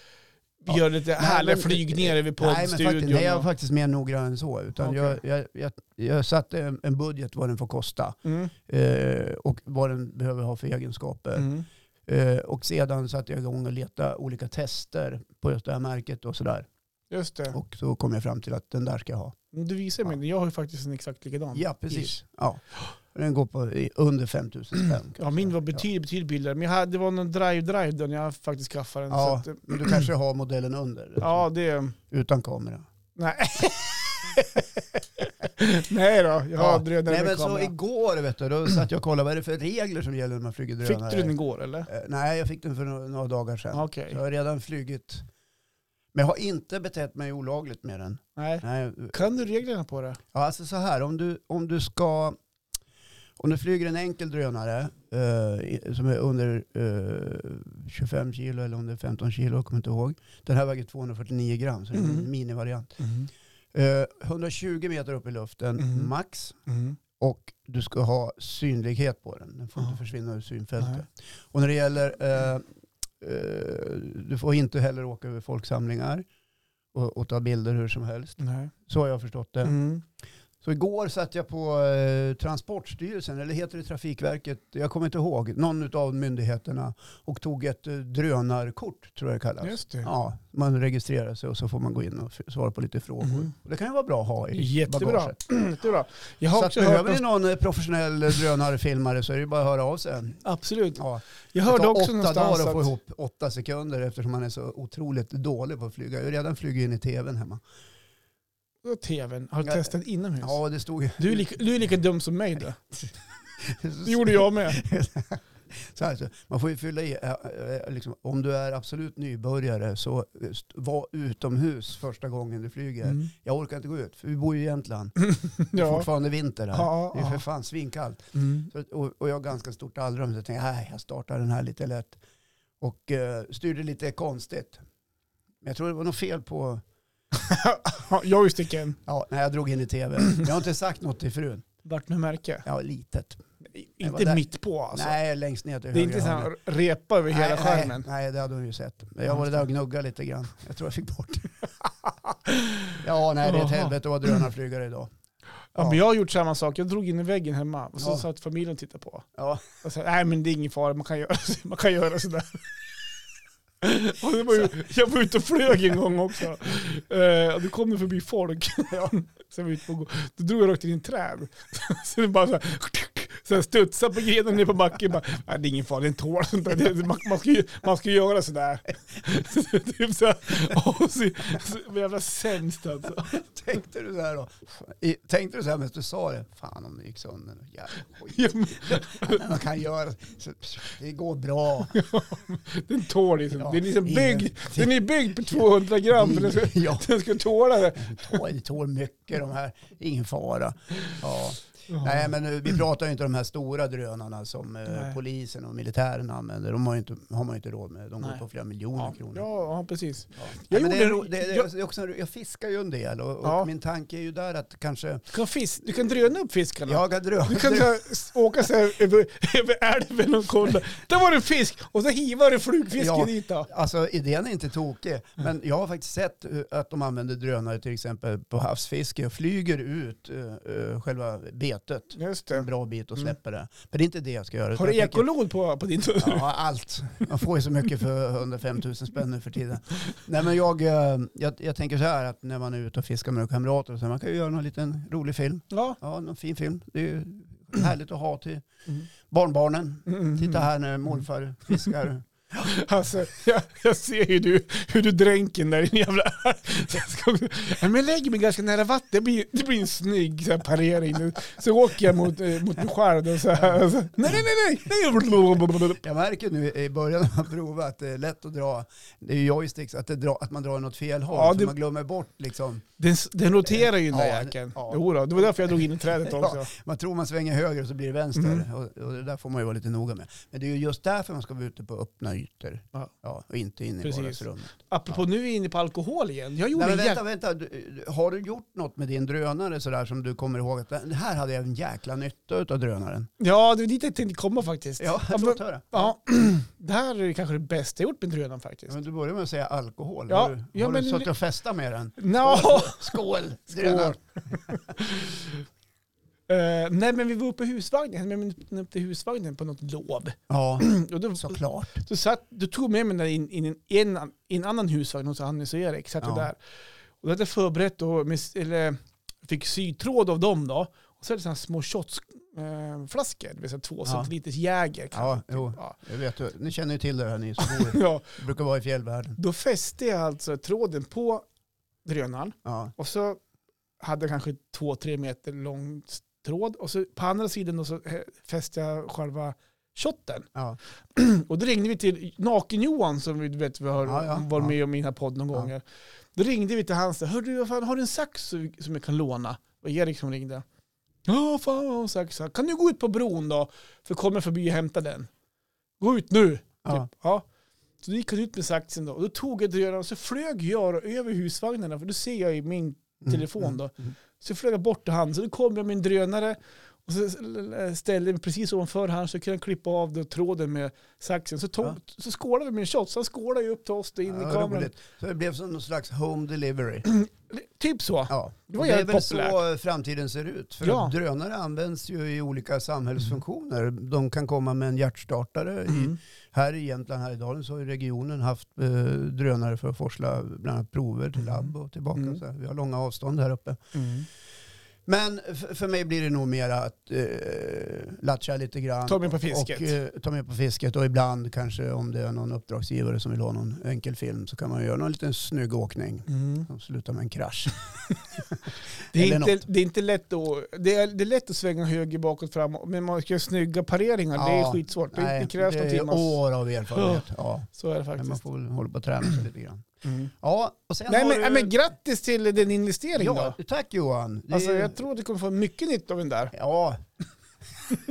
Ja.
göra lite härliga
men-
flygningar över
Nej, men faktiskt,
poddstudion.
nej, jag är
och-
faktiskt mer noggrann än så. Utan
Okej.
jag, jag, jag, jag satte en- en budget vad den får kosta
Mm,
eh, och vad den behöver ha för egenskaper.
mm,
Eh, och sedan satte jag igång och leta olika tester på just det här märket och sådär.
Just det.
Och så kom jag fram till att den där ska jag ha.
Du visar mig
Ja.
den. Jag har ju faktiskt en exakt likadan.
Ja, precis.
Ish.
Ja. Den går på i- under 5 000 spänn. kan
Ja,
jag
min
säga.
var betydligt, betydligt billigare. Men jag hade, det var någon drive-drive då när jag faktiskt skaffade den.
Ja,
Så att, eh,
men du kanske har modellen under?
ja det...
Utan kamera.
Nej. nej då, jag har drönare
Nej, men
med
så
kamera.
igår vet du, då satt jag och kollade vad är det för regler som gäller när man flyger drönare.
Fick du den igår eller?
Eh, Nej, jag fick den för no- några dagar sedan.
Okej.
Så jag har redan flugit. Men jag har inte betett mig olagligt med den.
Nej.
Nej.
Kan du reglerna på det?
Ja, alltså så här, om du, om du ska... Om du flyger en enkel drönare eh, i- som är under eh, 25 kilo eller om det är 15 kilo, jag kommer inte ihåg. Den här väger 249 gram, så det är
Mhm.
en minivariant. Eh, 120 meter upp i luften
Mhm.
max. Och du ska ha synlighet på den. Den får
Ja.
inte försvinna ur synfältet.
Nej.
Och när det gäller, eh, eh, du får inte heller åka över folksamlingar och, och ta bilder hur som helst.
Nej.
Så har jag förstått det.
Mm.
Så igår satt jag på eh, Transportstyrelsen, eller heter det Trafikverket? Jag kommer inte ihåg. Någon av myndigheterna. Och tog ett eh, drönarkort, tror jag det kallas.
Just det.
Ja, man registrerar sig och så får man gå in och f- svara på lite frågor.
Mhm.
Och det kan ju vara bra att ha i
Jättebra.
bagaget.
Jättebra. Jag
Så
har
att
också hört
behöver ni
någon...
någon eh, professionell eh, drönarfilmare så är det bara att höra av sig.
Absolut.
Ja.
Jag
Det
hörde
tar
också
åtta
någonstans
dagar att få
att...
ihop åtta sekunder eftersom man är så otroligt dålig på att flyga. Jag har redan flugit in i tvn hemma.
Och tvn har du
Ja.
testat inomhus.
Ja, det stod ju...
Du, är lika, du är lika dum som mig då. Det gjorde jag med.
Så här, så man får ju fylla i, eh, eh, liksom, om du är absolut nybörjare så eh, st- var utomhus första gången du flyger.
Mm.
Jag orkar inte gå ut, för vi bor ju i Jämtland. Det är
Ja.
fortfarande vinter här.
Ja,
Det är för
ja.
fan svinkallt.
Mm.
Så, att- och, och jag har ganska stort allrum så jag tänkte "Nej, jag startar den här lite lätt. Och eh, styrde lite konstigt. Men jag tror det var något fel på...
Ja, Joysticken.
Ja, nej, jag drog in i tv. Jag har inte sagt något till frun.
Vart med märke?
Ja, litet.
I-
Det var där.
Inte mitt på alltså.
Nej, längst ner till
Det är inte så
högra hörnet.
här repa över hela
nej,
skärmen.
Nej, nej, det hade hon ju sett. Jag var där och gnuggade lite grann. Jag tror jag fick bort det. Ja, nej, det är ett
Jaha.
helvete att vara drönarflygare idag.
Ja, men jag har gjort samma sak. Jag drog in i väggen hemma och så
Ja.
satt familjen och tittade på.
Ja,
Och så, nej men det är ingen fara, man kan göra, så- man kan göra sådär. Och det var ju, jag var ute och flög en gång också. Eh, och då kom det förbi folk. så jag var ute på, gå- då drog jag rakt in i en träd. så det bara så här, så jag studsade på grenen ner på backen. Bara, nej, det är ingen fara, det är en tår. Sånt där. Det, man, man, ska ju, man ska ju göra sådär. så, typ så, här. och så, så, men jävla sämst alltså.
tänkte du så här då? I, tänkte du så här medan du sa det? Fan om det gick sönder. Jävla skit.
Ja, men
Man kan göra så, Det går bra.
Den tål liksom.
Ja,
den, är liksom byggd,
ingenting.
den är byggd på 200 gram för den ska,
Ja.
den ska tåla det.
Oj, det tål mycket de här. Ingen fara. Ja. Nej, men nu, vi pratar ju inte om de här stora drönarna som eh,
Nej.
polisen och militären använder. De har, ju inte, har man ju inte råd med. De går
Nej.
på flera miljoner
Ja,
kronor.
ja, ja, precis.
Ja. Nej, men det är,
gjorde-
ro- det, det,
jag-
det är också, jag fiskar ju en del och, och
Ja.
min tanke är ju där att kanske
Du kan, fisk, du kan dröna upp fiskarna.
jag kan drömma.
Du kan så här, s- åka så här, över, över älven och kolla. Där var det en fisk och så hivar du flugfisken
Ja.
dit. Då.
Alltså idén är inte tokig, men jag har faktiskt sett eh, att de använder drönare till exempel på havsfiske och flyger ut eh, eh, själva betet
Just
en
det. Mm.
bra bit och släpper det. Men det är inte det jag ska göra.
Har
utan
du
jag tänker-
ekolod på, på din tur?
Ja, allt. Man får ju så mycket för 105 000 spänn nu för tiden. Nej, men jag, eh, jag, jag tänker så här att när man är ute och fiskar med kamrater, och så här, man kan ju göra någon liten rolig film.
Ja.
Ja, någon fin film. Det är ju härligt att ha till
Mm.
barnbarnen.
Mm.
Titta här när morfar fiskar.
Alltså, jag, jag ser ju du, hur du dränker den där i din jävla... Nej, men jag lägger mig ganska nära vatten. Det blir, det blir en snygg så här, parering. Nu. Så åker jag mot, eh, mot mig själv och så här. Och så, nej, nej, nej, nej.
Jag märker nu i början av provet att det är lätt att dra, det är ju joysticks, att, det dra, att man drar åt fel håll.
Ja,
så
det-
man glömmer bort liksom.
Den, den roterar ju den där
Ja,
jäkeln.
ja.
Jo då, det var därför jag drog in i trädet också.
Man tror man svänger höger och så blir det vänster.
Mm.
Och, och det där får man ju vara lite noga med. Men det är ju just därför man ska vara ute på öppna ytor.
Ja.
och inte inne i
Precis.
vardagsrummet.
Apropå nu är vi inne på alkohol igen. Jag
Nej,
gjorde
men
en
vänta,
jävla...
vänta. Du, du- har du gjort något med din drönare sådär som du kommer ihåg att "Den här hade jag en jäkla nytta av drönaren?
Ja, det var dit jag tänkte komma faktiskt.
Ja,
men-
låt höra.
ja. Det här är kanske det bästa jag gjort med drönaren faktiskt.
Men du började med att säga alkohol.
Ja,
har du,
ja,
har
men-
du suttit och festat med den?
Nå.
Skål!
Skål.
drönare.
Eh, nej men vi var uppe i husvagnen, jag var uppe i husvagnen på något lov.
Ja,
Och då,
såklart.
så satt, då tog jag med mig den där in, in, en, en, en annan husvagn hos Hannes och Erik, satt jag
Ja.
där. Och då hade jag förberett då, med, eller fick sytråd av dem då. Och så är det sådana här små eh, shotsflaskor, det vill säga två
Ja.
centiliters Jäger. kan-
Ja, jo.
Ja.
Jag vet, ju. ni känner ju till det här ni som bor,
ja.
brukar vara i fjällvärlden.
Då fäste jag alltså tråden på drönaren
Ja,
och så hade jag kanske två, tre meter lång tråd och så på andra sidan då så eh, fäste jag själva shotten.
ja.
Och då ringde vi till Naken-Johan som vi vet vi har
Ja, ja,
varit
ja.
med om i den här podden någon
Ja.
gång. här. Då ringde vi till hans. Hör du, vad fan, har du en sax som som jag kan låna? Och Erik som ringde. Ja, fan jag har en sax. här. Kan du gå ut på bron då? För kommer förbi och hämta den. Gå ut nu.
ja.
Typ. Ja. Så då gick han ut med saxen då. Och då tog jag drönaren och så flög jag då över husvagnarna. För då ser jag i min telefon då.
mm.
Så flög jag bort till han. Så då kom jag med en drönare och så ställde jag mig precis ovanför han så kunde han klippa av då tråden med saxen. Så, tog,
Ja.
så skålade vi med en shot. Så han skålade ju upp till oss då in i
Ja,
kameran.
roligt. Så det blev som någon slags home delivery.
Typ så.
Ja.
Det
Det,
var
det är
jävligt
väl så framtiden ser ut. För
Ja.
att drönare används ju i olika samhällsfunktioner. De kan komma med en hjärtstartare. I,
Mm.
här i Jämtland, här i Dalen, så har ju regionen haft eh, drönare för att forsla bland annat prover till labb och tillbaka.
Mm.
Så här. Vi har långa avstånd här uppe.
Mm.
Men f- för mig blir det nog mer att eh, latcha lite grann.
Ta med på fisket.
Och, eh, ta med på fisket och ibland kanske om det är någon uppdragsgivare som vill ha någon enkel film så kan man göra någon liten snygg åkning
Mm.
som slutar med en krasch.
Det, är
Eller
inte,
något.
det är inte lätt att, det är, det är lätt att svänga höger, bakåt, framåt. Men man ska göra snygga pareringar. det
Ja,
är skitsvårt. Det, det krävs
det
några
är
timmars...
år av erfarenhet. Ja.
Så är det
Men man
faktiskt.
får väl hålla på och träna sig lite grann.
Mm.
Ja, och sen
Nej,
har
men,
du...
nej, men grattis till din investering
ja,
då.
tack Johan. Det
Alltså,
är-
jag tror du kommer få mycket nytta av den där.
Ja.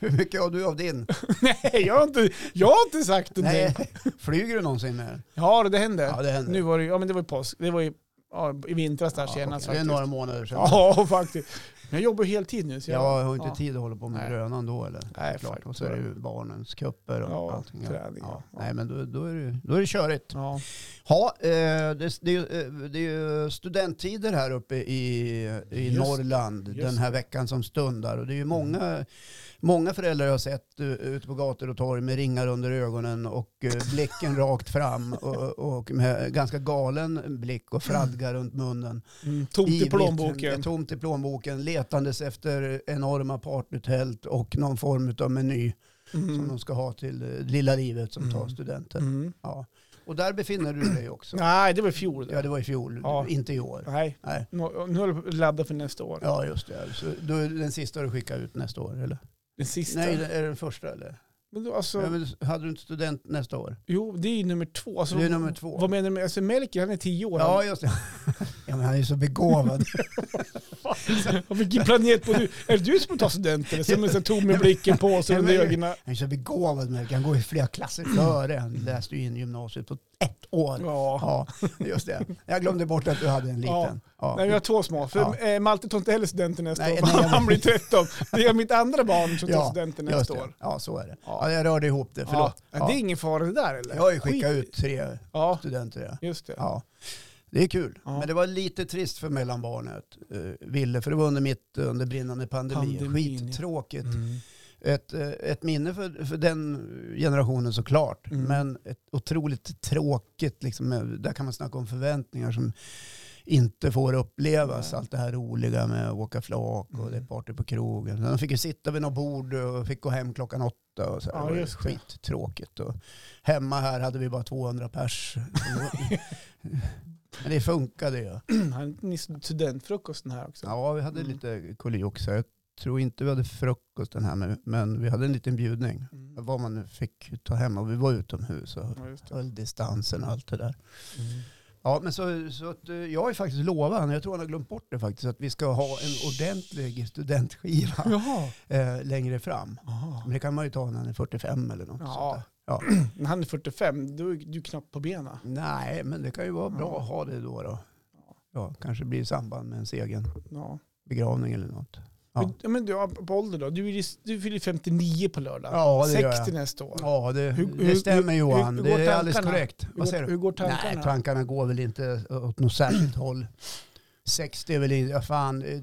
Hur mycket har du av din?
Nej, jag har inte, jag har inte sagt
Nej.
någonting.
Flyger du någonsin med den?
Ja, det hände.
Ja, det händer.
nu var det, ju- ja, men det var ju påsk. Det var ju ja, i vintras där
Ja,
senast
okej, Det är
faktiskt.
några månader sedan.
Ja, faktiskt. Men jag jobbar ju heltid nu. Så jag,
jag har inte
ja.
tid att hålla på med
Nej.
drönan då eller?
Nej,
Klart.
faktiskt.
Och så är det ju barnens kupper och
Ja,
allting.
träning, ja.
Nej, men då, då, är det, då är det körigt.
Ja.
Ja, eh, det, det, är ju, eh, det är ju studenttider här uppe i, i
Just-
Norrland
just Mm.
den här veckan som stundar. Och det är ju många, många föräldrar jag har sett eh, ute på gator och torg med ringar under ögonen och eh, blicken rakt fram och, och med ganska galen blick och fradga runt munnen.
Mm, tomt i
Ivrigt,
plånboken.
Tomt i plånboken, letandes efter enorma partytält och någon form av meny som
Mm.
de ska ha till eh, lilla livet som tar
Mm.
studenten.
Mm.
Ja. Och där befinner du dig också.
Nej, det var i fjol.
Ja, det var i fjol,
Ja.
inte i år.
Nej,
Nej.
nu nu håller jag på att ladda för nästa år.
Ja, just det. Så då är det den sista du skickar ut nästa år, eller?
Den sista.
Nej, det är det den första, eller?
Men då, alltså,
Ja, men hade du inte student nästa år?
Jo, det är ju nummer två. Alltså,
Det är nummer två.
Vad menar du med, alltså Melker han är tio år.
Ja, just det. Ja, men han är ju så begåvad.
Han, vilken planet på du? Är det du som tar studenten? Som är så tom med blicken på sig
Ja,
under
men-
ögonen.
Han är så begåvad, men han går ju flera klasser före. Han läste ju in gymnasiet på ett år.
Ja.
Ja, just det. Jag glömde bort att du hade en liten. Ja.
Nej, vi har två små. För
Ja.
eh, Malte tar inte heller studenten nästa
Nej,
år.
nej, jag vet.
han blir 13. Det är mitt andra barn som tar
Ja,
studenten
Just
nästa
det.
år.
Ja, så är det.
Ja.
Ja, jag rörde ihop det,
Ja.
förlåt.
Ja.
Ja.
Det är ingen fara det där eller?
Jag har ju skickat
Skit.
ut tre
Ja,
studenter. Ja.
just det.
Ja, det är kul.
Ja.
Men det var lite trist för mellanbarnet, eh, Ville, för det var under mitt under brinnande pandemi.
Pandemin, ja.
Skittråkigt.
Mm.
Ett, eh, ett minne för, för den generationen såklart,
Mm.
men ett otroligt tråkigt. Liksom, eh, där kan man snacka om förväntningar som inte får upplevas.
Nej.
Allt det här roliga med att åka flak och
Mm.
det är party på krogen. De fick ju sitta vid något bord och fick gå hem klockan åtta. Och så här.
Ja,
det var ju
just det.
skittråkigt. Och hemma här hade vi bara 200 pers. Men det funkade ju.
Han ni studentfrukosten här också.
Ja, vi hade
Mm.
lite kulioxa. Jag tror inte vi hade frukost den här, men- men vi hade en liten bjudning.
Mm.
Vad man nu fick ta hem och vi var utomhus och
Ja, just det.
höll distansen och allt det där.
Mm.
Ja, men så, så att, eh, jag har ju faktiskt lovat honom, jag tror han har glömt bort det faktiskt, att vi ska ha en ordentlig studentskiva
Jaha.
eh, längre fram.
Jaha.
Men det kan man ju ta när han är 45 eller något sånt
Ja.
där. Ja.
När han är 45, då är du knappt på benen.
Nej, men det kan ju vara bra att ha det då. då. Ja, kanske blir i samband med ens egen
Ja.
begravning eller något. Ja.
Men- Ja. Men du, på ålder då? Du, är, ju- du fyller 59 på lördag.
Ja, det
60
gör jag.
nästa år.
Ja, det,
Hur- hur-
det stämmer Johan.
hur går
det är alldeles
tankarna?
korrekt.
Hur,
Vad säger
går,
du?
hur går tankarna?
Nej, tankarna går väl inte åt något särskilt håll. 60 är väl inte, ja, fan, eh,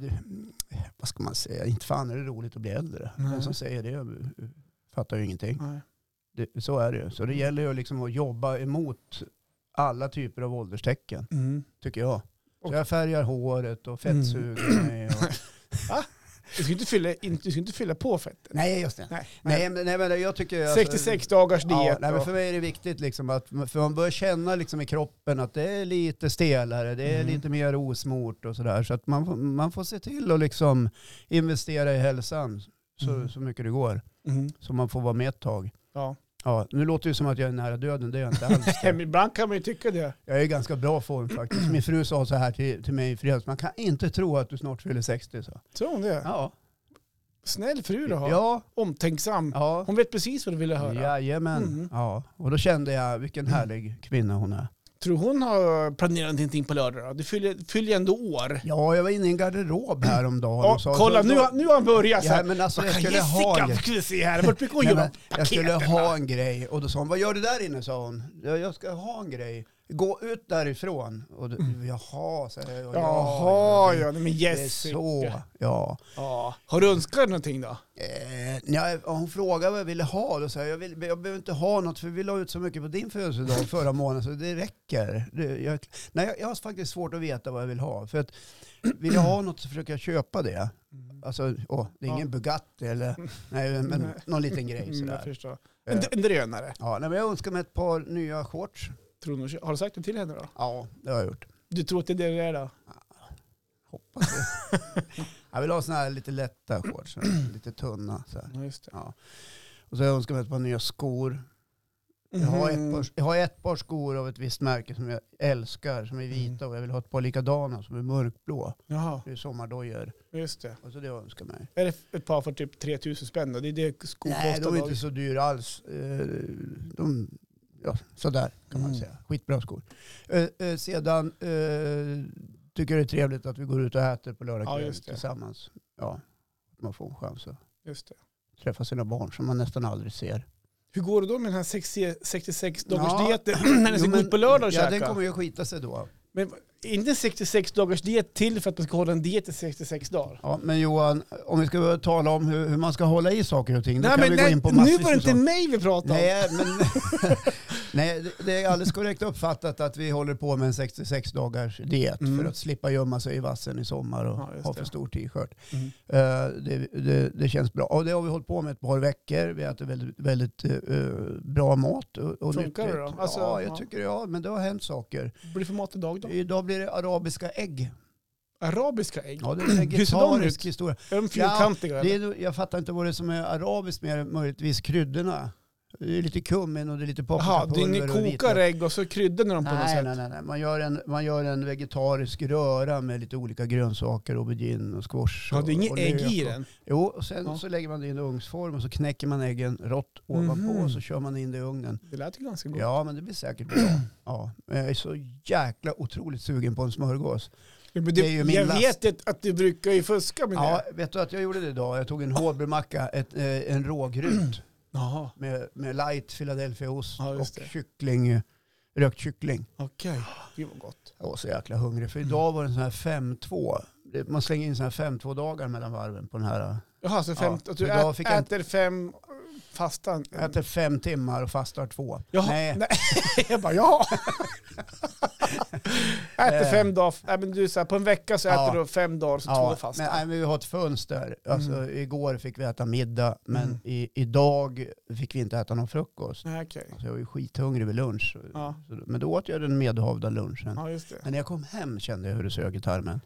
vad ska man säga, inte fan är det roligt att bli äldre.
Nej.
Den som säger det eh, fattar ju ingenting.
Nej.
Det, så är det ju. Så det gäller ju liksom att jobba emot alla typer av ålderstecken,
Mm.
tycker jag. Så
Och- Mm.
jag färgar håret och fettsuger mig. Och...
Du ska inte fylla, in, du ska inte fylla på fettet.
Nej, just det.
Nej.
Nej, men, nej, men jag tycker... alltså-
66 dagars
Ja,
diet.
nej, men
och-
för mig är det viktigt liksom att för man börjar känna liksom i kroppen att det är lite stelare, det är
Mm.
lite mer osmort och sådär. Så att man, får- man får se till att liksom investera i hälsan så,
Mm.
så mycket det går.
Mm.
Så man får vara med ett tag.
Ja.
Ja, nu låter det ju som att jag är nära döden, det är jag inte alls.
Men Ibland kan man ju tycka det.
Jag är i ganska bra form faktiskt. Min fru sa så här till, till mig i fredags, man kan inte tro att du snart fyller 60. Så.
Tror hon det?
Ja,
Snäll fru du har.
ja,
Omtänksam.
ja.
Hon vet precis vad du ville höra.
Jajamän.
Mm.
Ja. Och då kände jag vilken härlig kvinna hon är.
Tror hon har planerat någonting på lördag då? Du fyller, fyller ju ändå år.
Ja, jag var inne i en garderob häromdagen.
Ja,
och sa-
kolla,
så-
nu, har- nu har han börjat. så
Ja,
här.
men alltså,
Vad
jag
kan
skulle ha en
Jessica
grej.
få se här? Vart brukar hon
Nej,
göra
men Jag skulle
paketen?
ha en grej och då sa hon, vad gör du där inne? sa hon. "Ja, Jag ska ha en grej. Gå ut därifrån. Och då, Jaha, sa jag. Och,
Jaha,
det-
Mm. ja, nej, men
Det är
Jessica.
så, ja.
Ja. Har du önskat någonting då?
Eh, nej, hon frågade vad jag ville ha. Då sa jag, jag, vill, jag behöver inte ha något för vi la ut så mycket på din födelsedag förra månaden så det räcker. Det, jag, nej, jag, jag har faktiskt svårt att veta vad jag vill ha. För att vill jag ha något så försöker jag köpa det.
Mm.
Alltså, åh, det är ingen
Ja.
Bugatti eller nej, men,
Nej.
någon liten grej
Mm, jag
sådär.
förstår.
Eh,
En, en drönare.
Ja, nej, men jag önskar mig ett par nya shorts.
Tror hon, har du sagt det till henne då?
Ja, det har jag gjort.
Du tror att det är det det är då?
Hoppas det. jag vill ha sådana här lite lätta shorts, såna här lite tunna. Så här.
Ja, just det.
Ja. Och så önskar jag mig ett par nya skor. Jag har,
Mm.
ett par, jag har ett par skor av ett visst märke som jag älskar, som är
Mm.
vita och jag vill ha ett par likadana som är mörkblå.
Jaha,
Det är sommardojor.
just det.
Och så det jag önskar mig.
Är det ett par för typ 3000 spänn då? Det är det skor
Nej,
kostar
de är
då.
inte så dyra alls. Eh, De, ja, sådär kan man
Mm.
säga. Skitbra skor. Eh, eh, Sedan eh, tycker jag det är trevligt att vi går ut och äter på lördag
Ja,
kväll
just det.
tillsammans. Ja, man får en chans att
Just det.
träffa sina barn som man nästan aldrig ser.
Hur går det då med den här 60 66 dagars
Ja.
dieten när den ska
Jo,
gå
men-
ut på lördag och
Ja, den
käka?
kommer ju att skita sig då.
Men är inte en 66 dagars diet till för att man ska hålla en diet i 66 dagar?
Ja, men Johan, om vi ska börja tala om hur, hur man ska hålla i saker och ting, då
Nej,
kan
men
vi gå
nej,
in på
nu
massvis
var det
med
inte
saker.
mig vi pratade om.
Nej, men, nej, det- det är alldeles korrekt uppfattat att vi håller på med en 66 dagars diet
Mm.
för att slippa gömma sig i vassen i sommar och
Ja, just
ha
det.
för stor t-shirt.
Mm.
Eh, det, det, det känns bra. Och det har vi hållit på med ett par veckor. Vi äter väldigt, väldigt eh, bra mat. Och, och
Funkar det då?
nyttigt.
Alltså,
ja, jag
ja.
tycker ja, men det har hänt saker.
Vad blir det för mat idag då?
Idag blir det arabiska ägg.
Arabiska ägg?
Ja, det är en
Hur ser de
vegetarisk
ut?
historia.
Är de fyrkantiga
Det
eller?
är, nog- jag fattar inte vad det är som är arabiskt mer än möjligtvis kryddorna. Det är lite kummin och det är lite
Jaha,
paprikapulver.
det- ni
och
kokar
vitlök.
ägg och så kryddar ni dem på något
Nej,
sätt?
nej, nej, nej. Man, gör en, man gör en vegetarisk röra med lite olika grönsaker, aubergine och squash.
Ja, det är
och-
inget
och
ägg
lök
i
och-
den?
Jo, och sen
Ja.
så lägger man det i en ugnsform och så knäcker man äggen rått ovanpå
Mhm.
och så kör man in det i ugnen.
Det lät ju ganska gott.
Ja, men det blir säkert bra. Ja, men jag är så jäkla otroligt sugen på en smörgås.
Ja, men
det
du,
är ju min
jag
last.
vet att, att du brukar ju fuska med
Ja,
det.
vet du att jag gjorde det idag? Jag tog en hårdbrödmacka, ett, eh, en rågryt.
Jaha,
med, med light Philadelphiaost
Ja,
och
just det.
kyckling, eh, rökt kyckling.
okej. Gud vad gott.
Jag var så jäkla hungrig för idag var det en sån här 5-2. Det- Man slänger in sån här 5-2 dagar mellan varven på den här.
Jaha, så fem,
Ja,
att du
idag
ät,
fick jag
äter fem fastan?
Jag äter fem timmar och fastar två.
Mm. Jaha,
Nej.
nej. jag bara ja. äter
Eh.
fem dagar. Nej, men du, så här, på en vecka så
Ja.
äter du fem dagar så alltså två
men,
fastan.
nej, men vi har ett fönster. Alltså,
Mm.
Igår fick vi äta middag, men
Mm.
i, idag fick vi inte äta någon frukost.
Nej, okej.
Alltså, jag var ju skithungrig vid lunch.
Ja.
Så, men då åt jag den medhavda lunchen.
ja, just det.
Men när jag kom hem kände jag hur det sög i tarmen.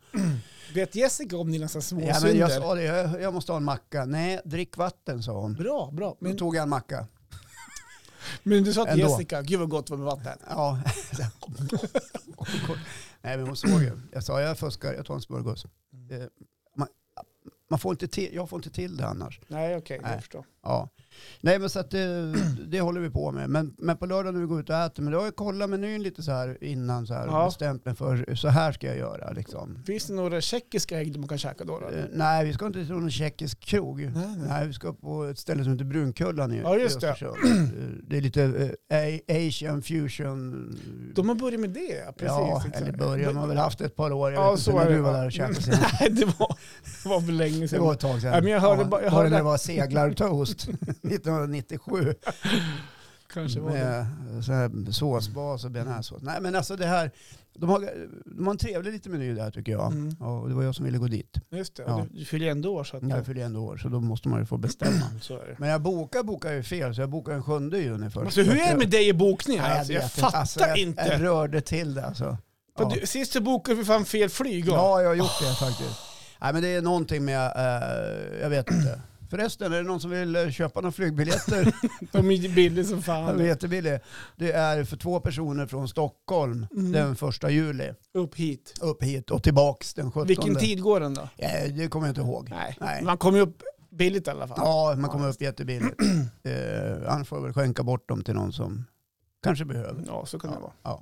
Vet Jessica om dina så här
Ja, men
småsynder?
jag sa det, jag, jag måste ha en macka. Nej, drick vatten sa hon.
Bra, bra.
Då
Men,
tog jag en macka.
men du sa att
Ändå.
Jessica, gud vad gott det var med vatten.
Ja. Nej men hon såg ju. Jag sa jag fuskar, jag tar en smörgås.
Mm.
Eh, Man, man får inte till, jag får inte till det annars.
Nej, okej,
Nej.
jag förstår.
Ja. Nej men så att det, det håller vi på med. Men, men på lördag när vi går ut och äter, men då har jag kollat menyn lite så här innan så här och
Ja.
bestämt mig för så här ska jag göra liksom.
Finns det några tjeckiska ägg man kan käka då? då?
Eh, Nej vi ska inte till någon tjeckisk krog.
Nej, nej.
Nej, vi ska på ett ställe som heter Brunkullan i
Ja, just
i
det.
Östersund. Eh, Det är lite eh, a- Asian fusion.
De har börjat med det, ja, precis.
ja,
exakt.
eller början man har väl haft ett par år. Jag
Ja,
vet
så
inte
är
när
det. Mm.
du var där och käkade senast.
Nej, det var, det var för länge
Det
sedan.
var ett tag sedan.
Ja, men jag hörde bara- jag
var det
hörde-
när det var seglartoast 1997.
Kanske var det.
med så här såsbas och bearnaisesås. Nej men alltså det här, de har, de har en trevlig liten meny där tycker jag.
Mm.
Ja, och det var jag som ville gå dit.
Just det,
Ja.
du, du fyller ju ändå år så att...
Jag fyller ändå år så då måste man ju få bestämma.
Så är det.
Men jag bokar bokar ju fel så jag bokar den sjunde juni först.
Alltså, hur är det med dig i bokningen?
Nej,
Alltså, jag,
vet
fattar
Alltså, jag,
inte.
Jag rörde till det alltså.
För du, sist du bokade för fan fel flyg. va?
Ja, jag har gjort det faktiskt. Nej, men det är någonting med, eh, jag vet inte. Förresten, är det någon som vill eh, köpa några flygbiljetter?
De är billiga som
Den är
fan.
jättebillig. Det är för två personer från Stockholm
Mm.
den första juli.
Upp hit.
Upp hit och tillbaks den 17.
Vilken tid går den då?
Eh, det kommer jag inte ihåg.
Nej.
Nej.
Man kommer ju upp billigt i alla fall.
Ja, man kommer upp jättebilligt. Eh, annars får jag väl skänka bort dem till någon som kanske behöver.
Ja, så kan det vara.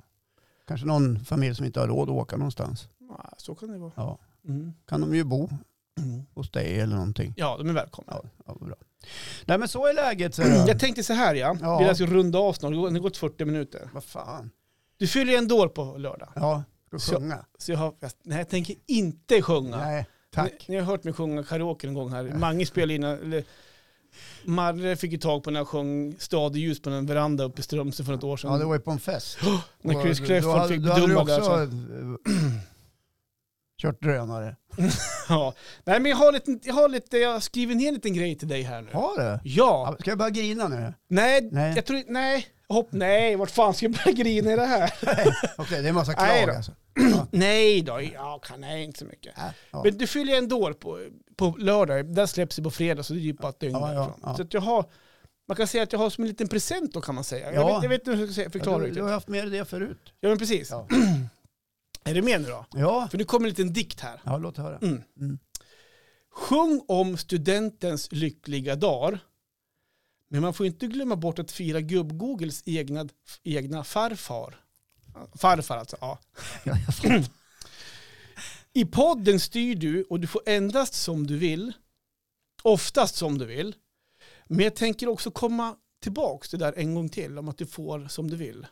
Kanske någon familj som inte har råd att åka någonstans.
Ja, så kan det vara.
Ja.
Mm.
Kan de ju bo hos dig eller någonting.
Ja, de är välkomna.
Ja, ja vad bra. Nej men så är läget. säger Mm, jag.
Mm. Jag tänkte så här ja,
Ja.
vi ska runda av snart, det har gått 40 minuter.
Vad fan.
Du fyller en dår på lördag.
Ja, ska
Så-
sjunga.
Så jag har, nej, jag tänker inte sjunga.
Nej,
Ni,
tack.
ni har hört mig sjunga karaoke en gång här. Mange spelade in, eller Marre fick ju tag på när jag sjöng Stad i ljus på en veranda uppe i Strömsö för något år sedan.
Ja, det var ju på en fest.
när Chris
Och då
Clefford
hade-
fick
då hade du
dumma
också
där. Så,
eh, kört drönare.
ja. Nej men jag har, lite, jag har lite, jag har skrivit ner en liten grej till dig här nu.
Har du?
Ja,
Ja, Ska jag börja grina nu?
nej,
Nej.
jag tror inte- nej, hopp, nej, vart fan ska jag börja grina i det här?
Okej, det är en massa
Nej
klag
då.
alltså.
Nej då, ja, kan nej, inte så mycket.
Ja, ja.
Men du fyller ju ändå år på, på lördag, den släpps ju på fredag så det är ju bara ett dygn
Ja, ja,
därifrån.
ja.
Så att jag har, man kan säga att jag har som en liten present då kan man säga. Jag,
Ja.
vet, jag vet inte hur jag ska säga-
Ja,
förklara
du,
riktigt.
du har haft med dig det förut.
Ja men precis.
Ja.
Är du med nu då?
Ja,
För nu kommer en liten dikt här.
ja låt höra.
Mm.
Mm.
Sjung om studentens lyckliga dag. Men man får inte glömma bort att fira gubb-Googles egna, egna farfar. Farfar alltså, ja.
Ja, jag
Mm.
fattar.
I podden styr du och du får endast som du vill. Oftast som du vill. Men jag tänker också komma tillbaka till det där en gång till. Om att du får som du vill.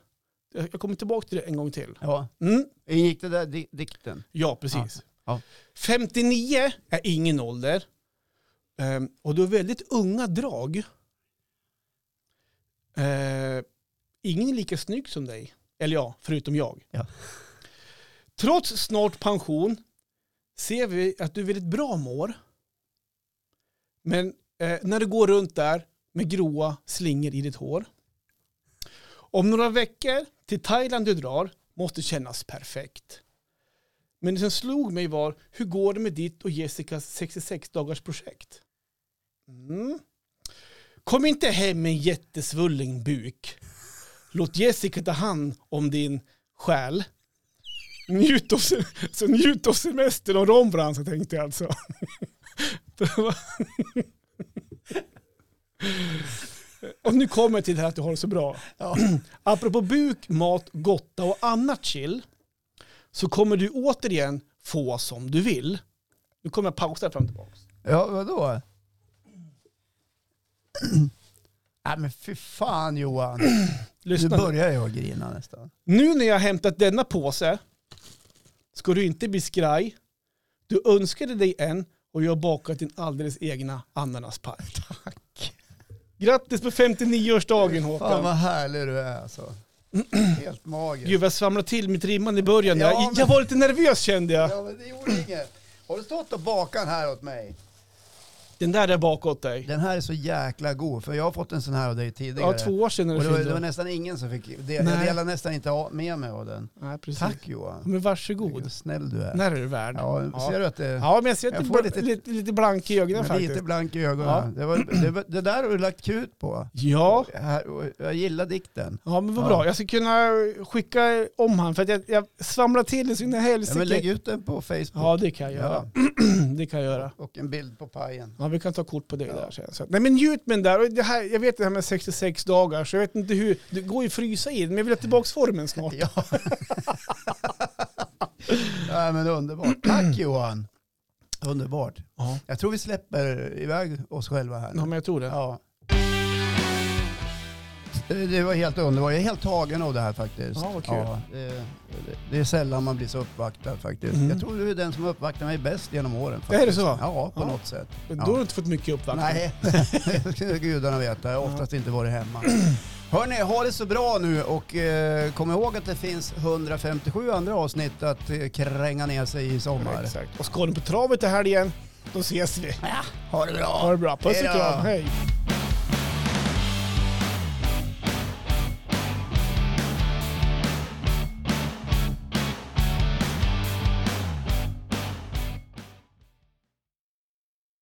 Jag jag kommer tillbaka till det en gång till.
Ja.
Mm.
Ingick det där di dikten?
Ja, precis.
Ja.
59 är ingen ålder. Ehm, och du har väldigt unga drag. Ehm, ingen är lika snygg som dig. Eller ja, förutom jag.
Ja.
Trots snart pension ser vi att du är väldigt bra mår. Men eh, när du går runt där med gråa slingor i ditt hår. Om några veckor till Thailand du drar måste kännas perfekt. Men det som slog mig var, hur går det med ditt och Jessicas 66 dagars projekt? Mm. Kom inte hem med en jättesvullen buk. Låt Jessica ta hand om din själ. Njut av, se- så njut av semestern och Rembrandt, så tänkte jag alltså. Det var- och nu kommer jag till det här att du har det så bra.
Ja.
Apropå buk, mat, gotta och annat chill så kommer du återigen få som du vill. Nu kommer jag pausa fram och tillbaka.
Ja, vadå? Nej Äh, men fy fan Johan. Nu
Lyssna. nu.
börjar jag grina nästan.
Nu när jag har hämtat denna påse ska du inte bli skraj. Du önskade dig en och jag har bakat din alldeles egna ananaspaj. Tack. Grattis på 59-årsdagen
Fan
Håkan.
vad härlig du är alltså. Helt magisk.
Gud vad jag svamlade till mitt rimman i början.
Ja,
jag,
men-
jag var lite nervös kände jag.
Ja men det gjorde inget. Har du stått och bakat här åt mig?
Den där är bakåt dig.
Den här är så jäkla god för jag har fått en sån här av dig tidigare.
Ja, två år sedan när
och
du
det var, det
fyllde
var
år.
nästan ingen som fick. Det,
Nej.
jag delar nästan inte av- med mig av den.
Nej, precis.
Tack Johan.
Men varsågod.
Vad snäll du är.
När är du värd.
Ja,
Ja.
ser du att det är
Ja, men jag ser att
Jag
du
får
bl- lite,
lite-
lite, blank i ögonen
men
faktiskt.
lite blank i ögonen? Det, var, det, var, det där har du lagt krut på.
Ja,
Här- och Jag gillar dikten.
ja, men vad
Ja.
bra. Jag ska kunna skicka om han för att jag, jag svamlar till det så in i
Ja, men lägg
helsike.
ut den på Facebook.
Ja, det kan jag göra.
Ja,
Det kan jag göra.
och en bild på pajen.
Ja, vi kan ta kort på det
Ja.
där sen. Så, nej men njut med den där. Och det här, jag vet det här med 66 dagar, så jag vet inte hur. Det går ju att frysa in, men jag vill ha tillbaka formen snart.
Ja. ja, men underbart. Tack Johan. Underbart.
Ja,
Jag tror vi släpper iväg oss själva här. nu.
men jag tror det.
Ja. Det det var helt underbart. Jag är helt tagen av det här faktiskt.
Ja, vad kul.
det, det- det är sällan man blir så uppvaktad faktiskt.
Mm.
Jag tror du är den som har uppvaktat mig bäst genom åren. Faktiskt.
Är det så?
Ja, på
Ja.
något sätt.
Men
Ja.
Då har du inte fått mycket uppvaktning.
Nej, det ska gudarna veta. Jag har oftast inte varit hemma. Hörni, ha det så bra nu och eh, kom ihåg att det finns 157 andra avsnitt att eh, kränga ner sig i sommar.
Exakt. Och ska ni på travet i helgen, då ses vi.
Ja, ha det bra.
Ha det bra. Puss och
Hej då.
kram. Hej.